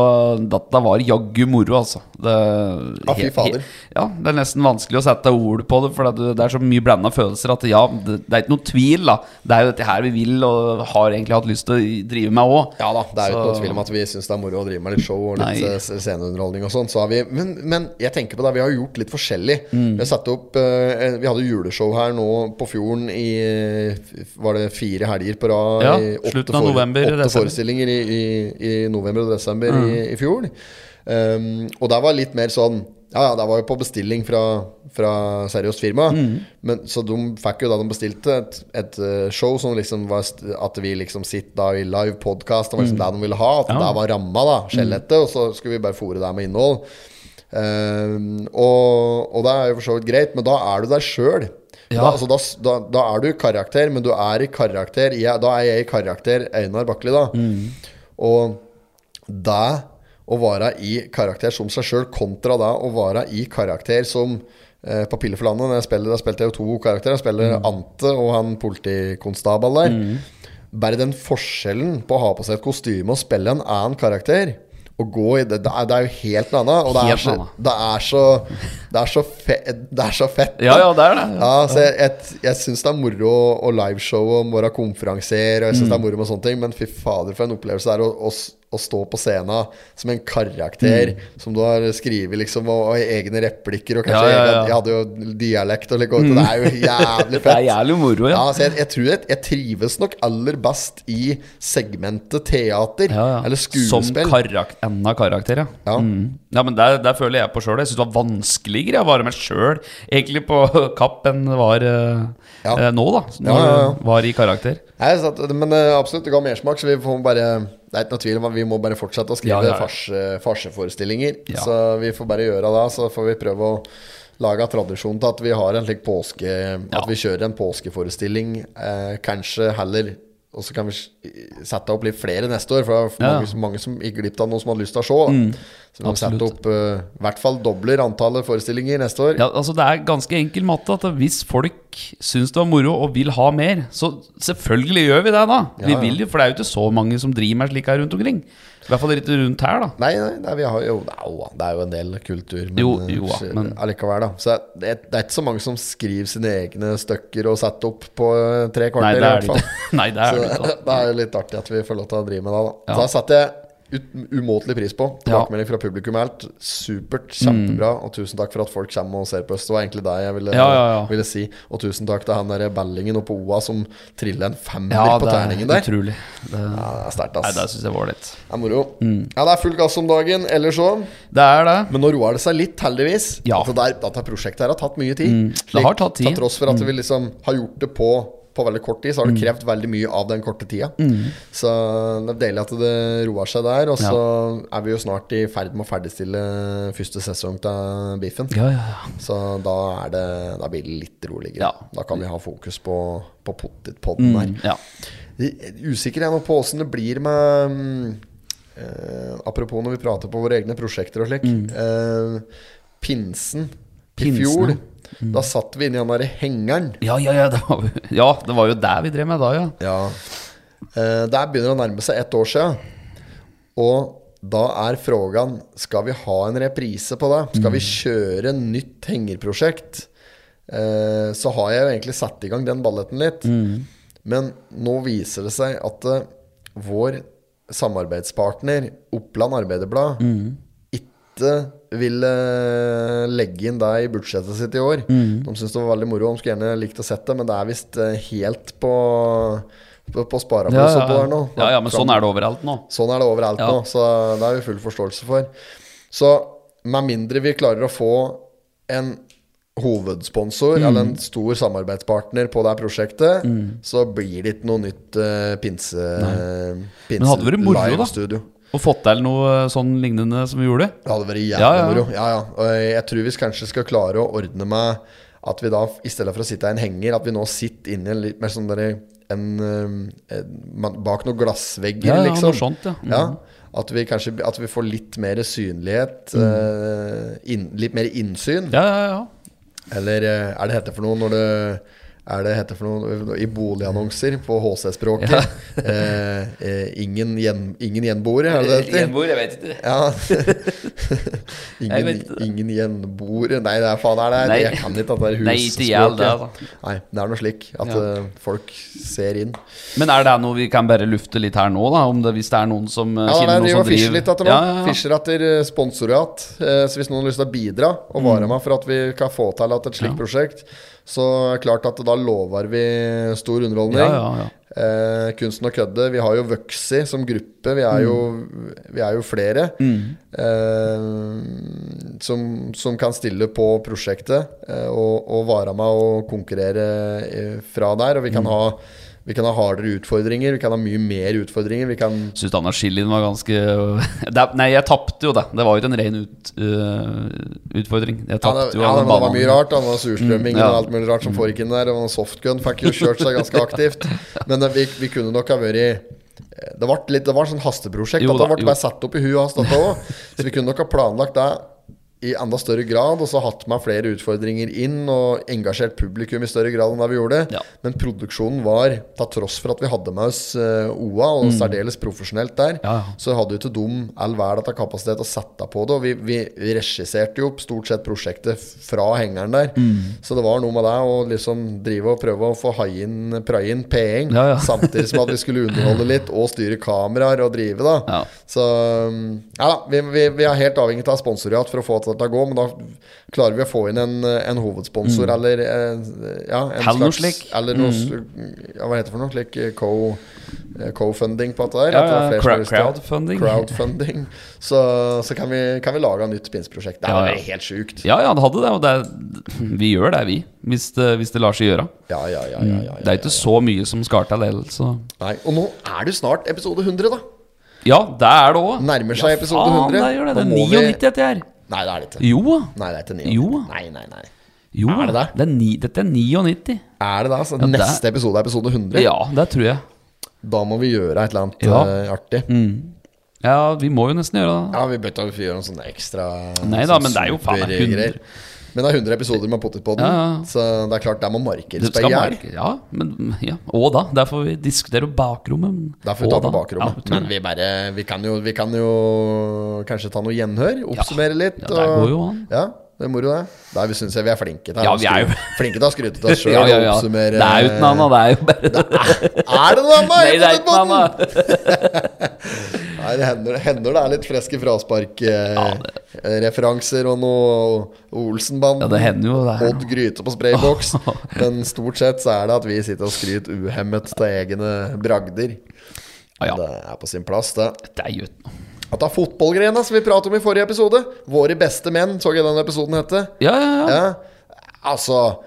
Speaker 2: dette var jaggu moro, altså. Det,
Speaker 1: Ja, fy
Speaker 2: he- he-
Speaker 1: fader.
Speaker 2: Ja, det er nesten vanskelig å sette ord på det, for det, det er så mye blanda følelser at ja, det, det er ikke noe tvil, da. Det er jo dette her vi vil, og har egentlig hatt lyst til å drive med òg.
Speaker 1: Ja da, det er jo ikke
Speaker 2: Så-
Speaker 1: noen tvil om at vi syns det er moro å drive med litt show og litt
Speaker 2: Nei.
Speaker 1: eh, sceneunderholdning og sånn. Så har vi, men, men jeg tenker på det, vi har jo gjort litt forskjellig.
Speaker 2: Mm.
Speaker 1: Vi, har satt opp, eh, vi hadde juleshow her nå på fjorden i eh, Var det fire helger på rad?
Speaker 2: Ja,
Speaker 1: i åtte
Speaker 2: slutten av november,
Speaker 1: Åtte
Speaker 2: desember.
Speaker 1: forestillinger i, i, i november og desember i, i fjor. Um, og der var litt mer sånn Ja, ja, det var jo på bestilling fra, fra seriøst firma. Men, så de fikk jo da de bestilte et, et eh, show som liksom var st- at vi liksom sitter da i live podkast. Det var liksom det de ville ha. At det var ramma, da. Skjelettet. Og så skulle vi bare fòre deg med innhold. Um, og, og det er jo for så vidt greit, men da er du deg sjøl.
Speaker 2: Ja.
Speaker 1: Da, altså, da, s- da, da er du i karakter, men du er i karakter jeg, Da er jeg i karakter Einar Bakli, da. Og det å være i karakter som seg sjøl, kontra det å være i karakter som eh, på Pille for landet. Når jeg spiller, da spilte jeg jo to karakterer. Jeg
Speaker 2: Mm.
Speaker 1: spiller Ante og han politikonstabel der. Bare den forskjellen på å ha på seg et kostyme og spille en annen karakter og gå i det, det, er, det er jo helt noe annet. Og det er
Speaker 2: Helt
Speaker 1: så,
Speaker 2: annet.
Speaker 1: det er så, det er så, fe, det er så fett.
Speaker 2: Ja,
Speaker 1: da.
Speaker 2: ja, det er det.
Speaker 1: Ja, så jeg, jeg, jeg syns det er moro å liveshow og være konferansier, og jeg synes det er
Speaker 2: Mm.
Speaker 1: moro med sånne ting, men fy fader, for en opplevelse det er å, å, s- å stå på scenen som en karakter
Speaker 2: Mm.
Speaker 1: som du har skrevet, liksom, og, og egne replikker, og kanskje
Speaker 2: Ja, ja, ja. Mm.
Speaker 1: Jeg, hadde jo dialekt og like, og det er jo jævlig
Speaker 2: Det
Speaker 1: fett.
Speaker 2: er jævlig moro, ja.
Speaker 1: Ja, så jeg, jeg tror jeg, jeg trives nok aller best i segmentet teater,
Speaker 2: Ja, ja.
Speaker 1: eller
Speaker 2: Som
Speaker 1: skuespill.
Speaker 2: karak enda karakter, ja.
Speaker 1: Ja.
Speaker 2: Mm. ja men der, der føler jeg på sjøl. Jeg syns det var vanskeligere å være meg sjøl egentlig på Kapp enn det var eh,
Speaker 1: Ja.
Speaker 2: eh, nå, da. Når
Speaker 1: Ja, ja, ja.
Speaker 2: du var i karakter.
Speaker 1: Nei, så at, men eh, absolutt, det ga mersmak, så vi får bare Det er ikke noe tvil om at vi må bare fortsette å skrive
Speaker 2: Ja, ja, ja.
Speaker 1: farse- farseforestillinger.
Speaker 2: Ja.
Speaker 1: Så vi får bare gjøre det, så får vi prøve å lage en tradisjon til at vi har en slik påske
Speaker 2: Ja.
Speaker 1: At vi kjører en påskeforestilling, eh, kanskje heller og så kan vi s- sette opp litt flere neste år, for det er
Speaker 2: Ja. Mm.
Speaker 1: mange, mange som gikk glipp av noe som hadde lyst til å se. Da. så vi må
Speaker 2: absolutt.
Speaker 1: sette opp eh, i hvert fall dobler antallet forestillinger neste år.
Speaker 2: Ja, altså Det er ganske enkel matte. At Hvis folk syns det var moro og vil ha mer, så selvfølgelig gjør vi det da.
Speaker 1: Ja,
Speaker 2: Vi
Speaker 1: ja.
Speaker 2: vil jo, For det er jo ikke så mange som driver med slik her rundt omkring. I hvert fall litt rundt her, da.
Speaker 1: Nei, nei det, er, vi har jo, det, er jo, det er jo en del kultur, men,
Speaker 2: Jo, jo, ja,
Speaker 1: eh,
Speaker 2: men-
Speaker 1: allikevel, da. Så det, er- det er ikke så mange som skriver sine egne stykker og setter opp på eh, tre
Speaker 2: Nei,
Speaker 1: kvarter,
Speaker 2: det
Speaker 1: i
Speaker 2: er
Speaker 1: hvert
Speaker 2: det
Speaker 1: fall.
Speaker 2: ikke. Nei, det er
Speaker 1: Så
Speaker 2: det ikke. altså. da.
Speaker 1: det er jo litt artig at vi får lov til å drive med det, da.
Speaker 2: Ja.
Speaker 1: Så Da setter jeg ut, umåtelig pris på.
Speaker 2: Ja. Mm.
Speaker 1: Tilbakemelding fra publikum er helt supert, kjempebra. Og tusen takk for at folk kommer og ser på oss. Det var egentlig det jeg ville,
Speaker 2: Ja, ja, ja.
Speaker 1: ville si. Og tusen takk til han derre Bellingen oppe på OA som triller en femmer
Speaker 2: Ja,
Speaker 1: på terningen
Speaker 2: det er
Speaker 1: der.
Speaker 2: utrolig. Det,
Speaker 1: Ja, det er sterkt,
Speaker 2: nei,
Speaker 1: ass.
Speaker 2: det Mm. syns jeg var ålreit.
Speaker 1: Det er moro. Ja, det er full gass om dagen, ellers òg.
Speaker 2: Det er det.
Speaker 1: Men nå roer det seg litt, heldigvis.
Speaker 2: Ja. Mm.
Speaker 1: At det der, dette prosjektet her har tatt mye tid.
Speaker 2: det har tatt tid. Mm.
Speaker 1: Til tross for at vi liksom har gjort det på, på veldig kort tid, så har det krevd veldig mye av den korte tida.
Speaker 2: Mm.
Speaker 1: Så det er deilig at det roer seg der. Og så er vi jo snart i ferd med å ferdigstille første sesong av Biffen.
Speaker 2: Ja, ja, ja.
Speaker 1: Så da, er det, da blir det litt roligere.
Speaker 2: Ja.
Speaker 1: Da kan vi ha fokus på, på potetpodden her.
Speaker 2: Mm, Ja.
Speaker 1: Usikker jeg nå på åssen det blir med mm, eh, Apropos når vi prater på våre egne prosjekter og slik. eh, pinsen i
Speaker 2: Mm. Pinsen, Mm.
Speaker 1: fjor, da satt vi inni han derre hengeren.
Speaker 2: Ja, ja, ja, det var, jo- ja, det var jo der vi drev med da, ja.
Speaker 1: Eh, der begynner det å nærme seg ett år siden. Og da er frågan Skal vi ha en reprise på det. Skal
Speaker 2: Mm.
Speaker 1: vi kjøre nytt hengerprosjekt? Eh, så har jeg jo egentlig satt i gang den balletten litt.
Speaker 2: Mm.
Speaker 1: Men nå viser det seg at eh, vår samarbeidspartner Oppland Arbeiderblad
Speaker 2: Mm.
Speaker 1: ikke ville eh, legge inn det i budsjettet sitt i år.
Speaker 2: Mm.
Speaker 1: De syntes det var veldig moro, de skulle gjerne likt å sett det, men det er visst eh, helt på, på, på spareplass
Speaker 2: Ja,
Speaker 1: oppå der nå.
Speaker 2: ja. ja, ja men sånn er det overalt nå.
Speaker 1: Sånn er det overalt
Speaker 2: Ja.
Speaker 1: nå, så det har vi full forståelse for. Så med mindre vi klarer å få en hovedsponsor eller
Speaker 2: Mm.
Speaker 1: en stor samarbeidspartner på det her prosjektet, så blir det ikke noe nytt eh, pinse, pinse
Speaker 2: Men hadde vært moro, da.
Speaker 1: studio.
Speaker 2: Og fått til noe sånn lignende som vi gjorde.
Speaker 1: Det hadde vært jævlig
Speaker 2: Ja, ja.
Speaker 1: moro. Ja, ja. Og jeg tror vi kanskje skal klare å ordne med at vi da, i stedet for å sitte i en henger, at vi nå sitter inne i en litt mer sånn derre en, eh, en- man- Bak noen glassvegger,
Speaker 2: Ja, ja,
Speaker 1: liksom.
Speaker 2: noe sånt, ja. Mhm.
Speaker 1: At vi kanskje At vi
Speaker 2: Mm.
Speaker 1: får litt mer synlighet. eh, inn, litt mer innsyn.
Speaker 2: Ja, ja, ja.
Speaker 1: Eller eh, er det hette for noe når det er det hette for noe eh, i boligannonser på HC-språket? eh, eh, ingen, gjen, ingen gjenboere, er det det heter?
Speaker 2: Gjenboer, jeg vet ikke.
Speaker 1: Ja.
Speaker 2: Jeg
Speaker 1: ingen,
Speaker 2: vet det.
Speaker 1: ingen gjenboere Nei, det er faen er det
Speaker 2: Nei.
Speaker 1: Jeg kan ikke at det er
Speaker 2: Nei, ikke jeg, det,
Speaker 1: husspråket.
Speaker 2: altså.
Speaker 1: Nei, det er noe slik at
Speaker 2: Ja.
Speaker 1: eh, folk ser inn.
Speaker 2: Men er det noe vi kan bare lufte litt her nå, da? Om det, hvis det er noen som eh,
Speaker 1: Ja,
Speaker 2: kjenner
Speaker 1: der
Speaker 2: noen
Speaker 1: driver
Speaker 2: som
Speaker 1: og fisher
Speaker 2: driver
Speaker 1: litt etter nå.
Speaker 2: Ja, ja, ja.
Speaker 1: Fisher etter eh, sponsorat. Eh, Så hvis noen har lyst til å bidra
Speaker 2: Mm.
Speaker 1: og være med for at vi kan få til at et slikt prosjekt, så er det klart at da lover vi stor underholdning.
Speaker 2: Ja, ja, ja.
Speaker 1: Eh, kunsten å kødde. Vi har jo Vuxi som gruppe. Vi er jo,
Speaker 2: Mm.
Speaker 1: vi er jo flere eh, som, som kan stille på prosjektet eh, og, og være med og konkurrere eh, fra der. Og vi
Speaker 2: Mm.
Speaker 1: kan ha vi kan ha hardere utfordringer, vi kan ha mye mer utfordringer. Vi kan
Speaker 2: Syns Anna Schillin var ganske det, er- Nei, jeg tapte jo det. Det var jo ikke en ren ut, øh, utfordring. Jeg
Speaker 1: Ja, det,
Speaker 2: tapte jo
Speaker 1: ja,
Speaker 2: alle
Speaker 1: men det var
Speaker 2: banene.
Speaker 1: mye rart. da. Det var surstrømming
Speaker 2: Mm, ja.
Speaker 1: og alt mulig rart som foregikk inn der. Og den softgun fikk jo kjørt seg ganske aktivt. Men det, vi, vi kunne nok ha vært eh, Det var litt Det var sånn hasteprosjekt.
Speaker 2: Jo
Speaker 1: at det
Speaker 2: da,
Speaker 1: ble
Speaker 2: jo.
Speaker 1: bare satt opp i huet og hast, dette også. Så vi kunne nok ha planlagt det i enda større grad, og så hatt med flere utfordringer inn, og engasjert publikum i større grad enn det vi gjorde.
Speaker 2: Ja.
Speaker 1: Men produksjonen var, til tross for at vi hadde med oss eh, OA, og
Speaker 2: Mm.
Speaker 1: særdeles profesjonelt der,
Speaker 2: Ja, ja.
Speaker 1: så hadde jo ikke de all verden av kapasitet å sette på det. Og vi, vi, vi regisserte jo opp stort sett prosjektet fra hengeren der.
Speaker 2: Mm.
Speaker 1: Så det var noe med det å liksom drive og prøve å få haie inn, praie inn penger,
Speaker 2: Ja, ja.
Speaker 1: samtidig som at vi skulle underholde litt og styre kameraer og drive, da.
Speaker 2: Ja.
Speaker 1: Så um, ja da, vi, vi, vi er helt avhengig av sponsorat for å få dette til å gå, men da klarer vi å få inn en, en hovedsponsor eller eh, ja, en
Speaker 2: Eller noe Mm. slik. Mm.
Speaker 1: Eller noe sl- ja, hva heter det for noe? Slik eh, co- eh, co-funding på dette der.
Speaker 2: Ja,
Speaker 1: at det er
Speaker 2: ja,
Speaker 1: flere som har
Speaker 2: crowd-
Speaker 1: lyst til-
Speaker 2: crowdfunding.
Speaker 1: crowdfunding. Så, så kan, vi, kan vi lage et nytt spinsprosjekt. Det
Speaker 2: Ja,
Speaker 1: er
Speaker 2: ja.
Speaker 1: jo helt sjukt.
Speaker 2: Ja, ja, det hadde det. Og det er, vi gjør det, vi. Hvis det, hvis det lar seg gjøre.
Speaker 1: Ja, ja, ja, ja, ja,
Speaker 2: Mm. Det
Speaker 1: ja.
Speaker 2: er ikke så mye som skal til likevel, så
Speaker 1: Nei, og nå er det jo snart episode 100, da.
Speaker 2: Ja, det er det òg.
Speaker 1: Nærmer seg episode 100.
Speaker 2: det gjør det. Det
Speaker 1: Da
Speaker 2: er
Speaker 1: må
Speaker 2: 99
Speaker 1: vi-
Speaker 2: dette her.
Speaker 1: Nei, det er det ikke.
Speaker 2: Jo da.
Speaker 1: Nei, det er ikke 99.
Speaker 2: Jo.
Speaker 1: Nei, nei, nei.
Speaker 2: Jo,
Speaker 1: Er det det?
Speaker 2: er ni, dette er 99.
Speaker 1: Er det det? altså?
Speaker 2: det-
Speaker 1: Neste episode er episode 100.
Speaker 2: Ja, det tror jeg.
Speaker 1: Da må vi gjøre et eller annet
Speaker 2: Ja. Mm.
Speaker 1: eh, artig.
Speaker 2: Ja, vi må jo nesten gjøre det.
Speaker 1: Ja, vi bør ta vi gjør noen sånne sånn ekstra
Speaker 2: Nei da, men det er jo faen meg 100.
Speaker 1: supergreier. Men det er 100 episoder med Pottitpodden,
Speaker 2: Ja, ja.
Speaker 1: så det er klart det må markeres
Speaker 2: Det
Speaker 1: på
Speaker 2: skal
Speaker 1: hjel.
Speaker 2: merke, ja, men ja. Og da. Der får vi diskutere bakrommet. men-
Speaker 1: Da får vi
Speaker 2: Og
Speaker 1: ta på
Speaker 2: da.
Speaker 1: bakrommet.
Speaker 2: Ja, tror
Speaker 1: men
Speaker 2: jeg.
Speaker 1: vi, bare, vi, kan jo, vi kan jo kanskje ta noe gjenhør, oppsummere litt.
Speaker 2: Ja, det går jo an.
Speaker 1: Ja, det er moro, det. Der syns jeg vi er flinke til
Speaker 2: Ja,
Speaker 1: å
Speaker 2: vi er jo-
Speaker 1: skryte- flinke til å skryte til oss sjøl
Speaker 2: ja, ja, ja.
Speaker 1: og eh, oppsummere
Speaker 2: Det er jo ikke noe annet, det er jo bare
Speaker 1: Er det noe annet? Pottitpodden? Nei,
Speaker 2: Nei, det er ikke noe annet.
Speaker 1: det hender, hender det er litt freske frasparkreferanser og noe Olsenband.
Speaker 2: Ja, det hender jo det her
Speaker 1: Odd Gryte på sprayboks. Men stort sett så er det at vi sitter og skryter uhemmet av egne bragder.
Speaker 2: Ja, ja.
Speaker 1: Det er på sin plass, det.
Speaker 2: Det er jo ikke noe.
Speaker 1: At det er fotballgrena som vi pratet om i forrige episode. Våre beste menn, så jeg den episoden hette.
Speaker 2: Ja, ja, ja.
Speaker 1: Ja. Altså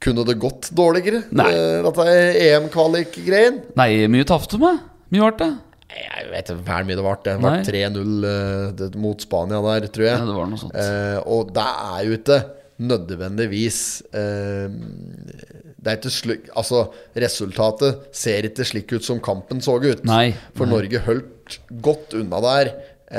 Speaker 1: Kunne det gått dårligere?
Speaker 2: Nei.
Speaker 1: Eh, Dette er EM-kvalik-greien.
Speaker 2: Nei, mye tapte meg. Mye vart det.
Speaker 1: Jeg vet ikke hvor mye det ble. Det ble 3-0
Speaker 2: Nei.
Speaker 1: eh, det- mot Spania der, tror jeg.
Speaker 2: Ja, det var noe sånt.
Speaker 1: Eh, og det er jo ikke nødvendigvis eh, Det er ikke slik Altså, resultatet ser ikke slik ut som kampen så ut.
Speaker 2: Nei,
Speaker 1: For Norge holdt godt unna der.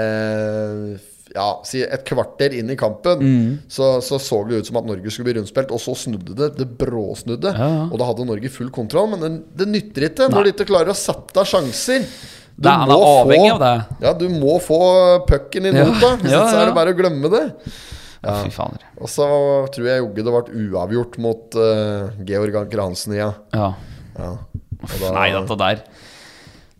Speaker 1: Eh, ja, si et kvarter inn i kampen,
Speaker 2: Mm.
Speaker 1: så, så så det ut som at Norge skulle bli rundspilt, og så snudde det. Det bråsnudde.
Speaker 2: Ja, ja.
Speaker 1: Og da hadde Norge full kontroll, men det, det nytter ikke når de ikke klarer å sette av sjanser. Du
Speaker 2: Det er- han er
Speaker 1: må
Speaker 2: avhengig
Speaker 1: få-
Speaker 2: av det.
Speaker 1: Ja, du må få pucken i
Speaker 2: Ja,
Speaker 1: nota. Hvis
Speaker 2: ja,
Speaker 1: ikke så er
Speaker 2: ja.
Speaker 1: det bare å glemme det.
Speaker 2: Ja. Fy fader.
Speaker 1: Og så tror jeg jogge det ble uavgjort mot eh, Georg Anker Hansen, ja.
Speaker 2: Ja.
Speaker 1: ja. Og da-
Speaker 2: Nei, dette der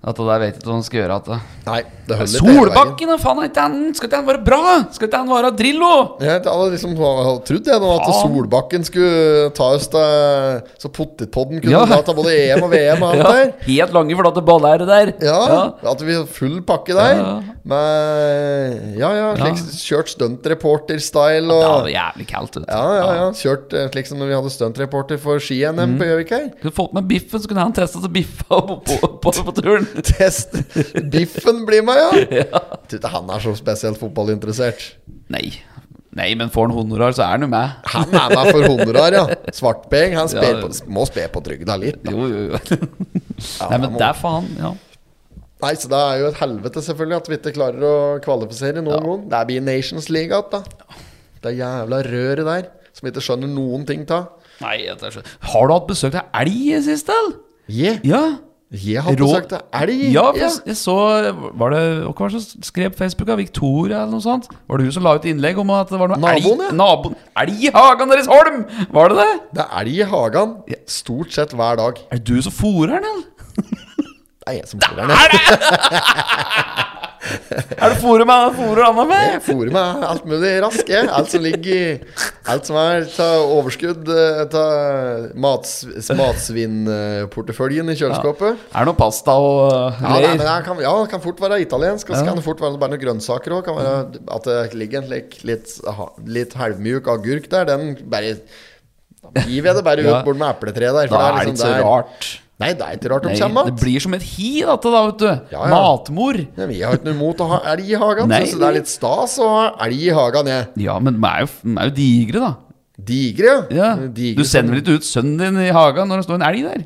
Speaker 2: Dette der vet jeg ikke hva han skal gjøre. At det.
Speaker 1: Nei, det holder ikke hele veien.
Speaker 2: Solbakken, da! Faen, er ikke han- skal ikke han være bra? Skal ikke han være Drillo?
Speaker 1: Jeg hadde liksom hadde trodd jeg nå at
Speaker 2: Faen.
Speaker 1: Solbakken skulle ta oss til Så potetpodden kunne
Speaker 2: Ja.
Speaker 1: ta til både EM og VM og alt
Speaker 2: Ja,
Speaker 1: der.
Speaker 2: helt lange, flate baller der.
Speaker 1: Ja,
Speaker 2: ja.
Speaker 1: At vi har full pakke der.
Speaker 2: Ja, ja.
Speaker 1: Med ja, ja, slik, kjørt stuntreporter-style
Speaker 2: Det
Speaker 1: og
Speaker 2: var jævlig kaldt. vet du.
Speaker 1: ja, ja, ja. Kjørt eh, slik som når vi hadde stuntreporter for ski-NM
Speaker 2: Mhm.
Speaker 1: på Gjøvik her.
Speaker 2: Skulle fått med biffen, så kunne han testa seg biffa på, på, på, på turen.
Speaker 1: Test Biffen blir med, ja! Tror ikke han er så spesielt fotballinteressert.
Speaker 2: Nei. Nei, men får han honorar, så er han jo med.
Speaker 1: Han er med for honorar, ja. Svartpeng. Han sper
Speaker 2: Ja.
Speaker 1: på, må spe på trygda litt.
Speaker 2: Jo, jo, jo. Nei, men
Speaker 1: må-
Speaker 2: det er faen. Ja.
Speaker 1: Nei, så det er jo et helvete selvfølgelig at vi ikke klarer å kvalifisere noen gang. Det blir Nations League igjen, da. Det jævla røret der. som ikke skjønner noen ting av.
Speaker 2: Nei, jeg tar ikke- Har du hatt besøk av elg i siste? eller?
Speaker 1: Jeg
Speaker 2: Ja.
Speaker 1: jeg har
Speaker 2: Rå-
Speaker 1: besøkt av elg!
Speaker 2: Ja, for jeg- jeg så Var det Hva var det som skrev på Facebook? da? Victoria eller noe sånt? Var det hun som la ut innlegg om at det var noe
Speaker 1: Naboen,
Speaker 2: elg,
Speaker 1: ja.
Speaker 2: naboen Elg i hagen deres, Holm! Var det det?
Speaker 1: Det er elg i hagen stort sett hver dag.
Speaker 2: Er det du som fôrer den, eller?
Speaker 1: Det er jeg som fôrer den.
Speaker 2: Er det fôret med fôrer Anna
Speaker 1: Jeg
Speaker 2: med?
Speaker 1: fôrer meg alt mulig rask, jeg. Alt som ligger i Alt som er av overskudd eh, av mats, matsvinnporteføljen i kjøleskapet.
Speaker 2: Er det noe pasta og
Speaker 1: Ja, nei, men
Speaker 2: greier?
Speaker 1: det kan, ja, det kan fort være italiensk. Og så kan det fort være bare noen grønnsaker òg. At det ligger en slik litt, ha- litt halvmjuk agurk der. Den bare Da gir jeg det bare ut
Speaker 2: Ja.
Speaker 1: bort med epletreet der.
Speaker 2: Da
Speaker 1: det liksom
Speaker 2: er det ikke så
Speaker 1: der-
Speaker 2: rart.
Speaker 1: Nei, det er ikke rart de
Speaker 2: Nei,
Speaker 1: kommer
Speaker 2: det blir som et hi, dette, da, vet du.
Speaker 1: Ja, ja.
Speaker 2: Matmor.
Speaker 1: Men jeg har ikke noe imot å ha elg i hagen.
Speaker 2: Nei,
Speaker 1: Syns det er litt stas å ha elg i hagen, jeg.
Speaker 2: Ja, men de er jo, de er jo digre, da.
Speaker 1: Digre,
Speaker 2: Ja.
Speaker 1: Digre
Speaker 2: Du sender
Speaker 1: som-
Speaker 2: vel ikke ut sønnen din i hagen når det står en elg der?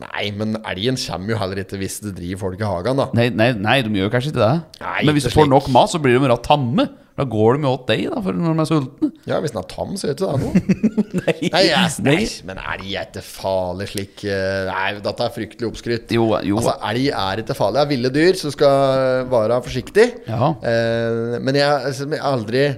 Speaker 1: Nei, men elgen kommer jo heller ikke hvis det driver folk i hagen, da.
Speaker 2: Nei, nei, nei, de gjør kanskje ikke det.
Speaker 1: Nei,
Speaker 2: Men hvis
Speaker 1: ikke
Speaker 2: du får
Speaker 1: slik.
Speaker 2: nok mat, så blir de ratt tamme. Da går de jo åt deg, da, for når de er sultne.
Speaker 1: Ja, hvis den er tam, så vet du det nå. Nei, yes, nei, men elg er ikke farlig slik eh, Nei, dette er fryktelig oppskrytt.
Speaker 2: Jo, jo.
Speaker 1: Altså, elg er ikke farlig. Det er ville dyr, så du skal være forsiktig.
Speaker 2: Ja.
Speaker 1: Eh, men jeg, altså, jeg er aldri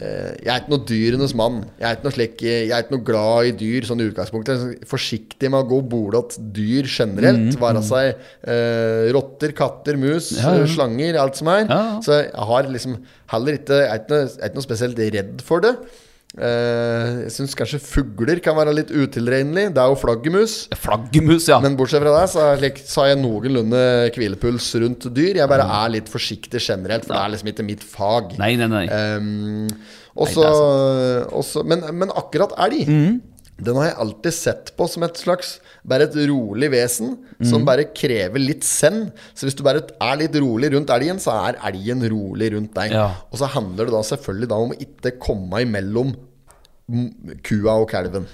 Speaker 1: eh, Jeg er ikke noe dyrenes mann. Jeg er ikke noe slik eh, Jeg er ikke noe glad i dyr sånn i utgangspunktet. Jeg er sånn Forsiktig med å gå bordet til dyr generelt. Være seg eh, rotter, katter, mus,
Speaker 2: Mhm, Ja, ja.
Speaker 1: eh, slanger, alt som er.
Speaker 2: Ja.
Speaker 1: Så jeg har liksom heller ikke Jeg er ikke noe, jeg er ikke noe spesielt redd for det. Eh, jeg syns kanskje fugler kan være litt utilregnelig. Det er jo flaggermus.
Speaker 2: Flaggermus, ja.
Speaker 1: Men bortsett fra det, så, er slik, så har jeg noenlunde hvilepuls rundt dyr. Jeg bare er litt forsiktig generelt, for det er liksom ikke mitt fag.
Speaker 2: Nei, nei, nei.
Speaker 1: Ehm,
Speaker 2: Nei, det
Speaker 1: også,
Speaker 2: er Mhm.
Speaker 1: også, men, men akkurat elg, den har jeg alltid sett på som et slags Bare et rolig vesen
Speaker 2: Mhm.
Speaker 1: som bare krever litt send. Så hvis du bare er litt rolig rundt elgen, så er elgen rolig rundt deg.
Speaker 2: Ja.
Speaker 1: Og så handler det da selvfølgelig da om å ikke komme imellom mm, kua og kalven.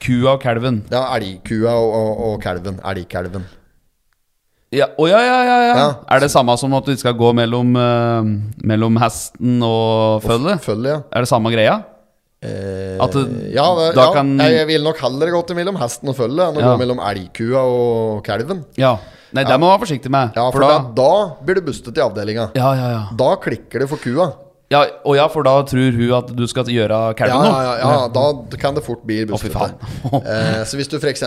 Speaker 2: Kua og kalven.
Speaker 1: Ja, elgkua og, og, og kalven. Elgkalven.
Speaker 2: Ja, å, ja, ja, ja, ja.
Speaker 1: Ja.
Speaker 2: Er det samme som at du ikke skal gå mellom, eh, mellom hesten og føllet?
Speaker 1: Følge, ja.
Speaker 2: Er det samme greia?
Speaker 1: Eh,
Speaker 2: At det-
Speaker 1: ja, det,
Speaker 2: da
Speaker 1: ja
Speaker 2: kan-
Speaker 1: jeg, jeg vil nok heller gått mellom hesten og føllet enn å
Speaker 2: Ja.
Speaker 1: gå mellom elgkua og kalven.
Speaker 2: Ja. Nei, det må man være forsiktig med.
Speaker 1: Ja, for da, da blir du bustet i avdelinga.
Speaker 2: Ja, ja, ja.
Speaker 1: Da klikker det for kua.
Speaker 2: ja. Og ja, for da tror hun at du skal gjøre
Speaker 1: Ja, ja,
Speaker 2: kalven noe.
Speaker 1: ja, ja, da kan det fort bli
Speaker 2: fy
Speaker 1: bustete.
Speaker 2: faen.
Speaker 1: eh, så hvis du f.eks.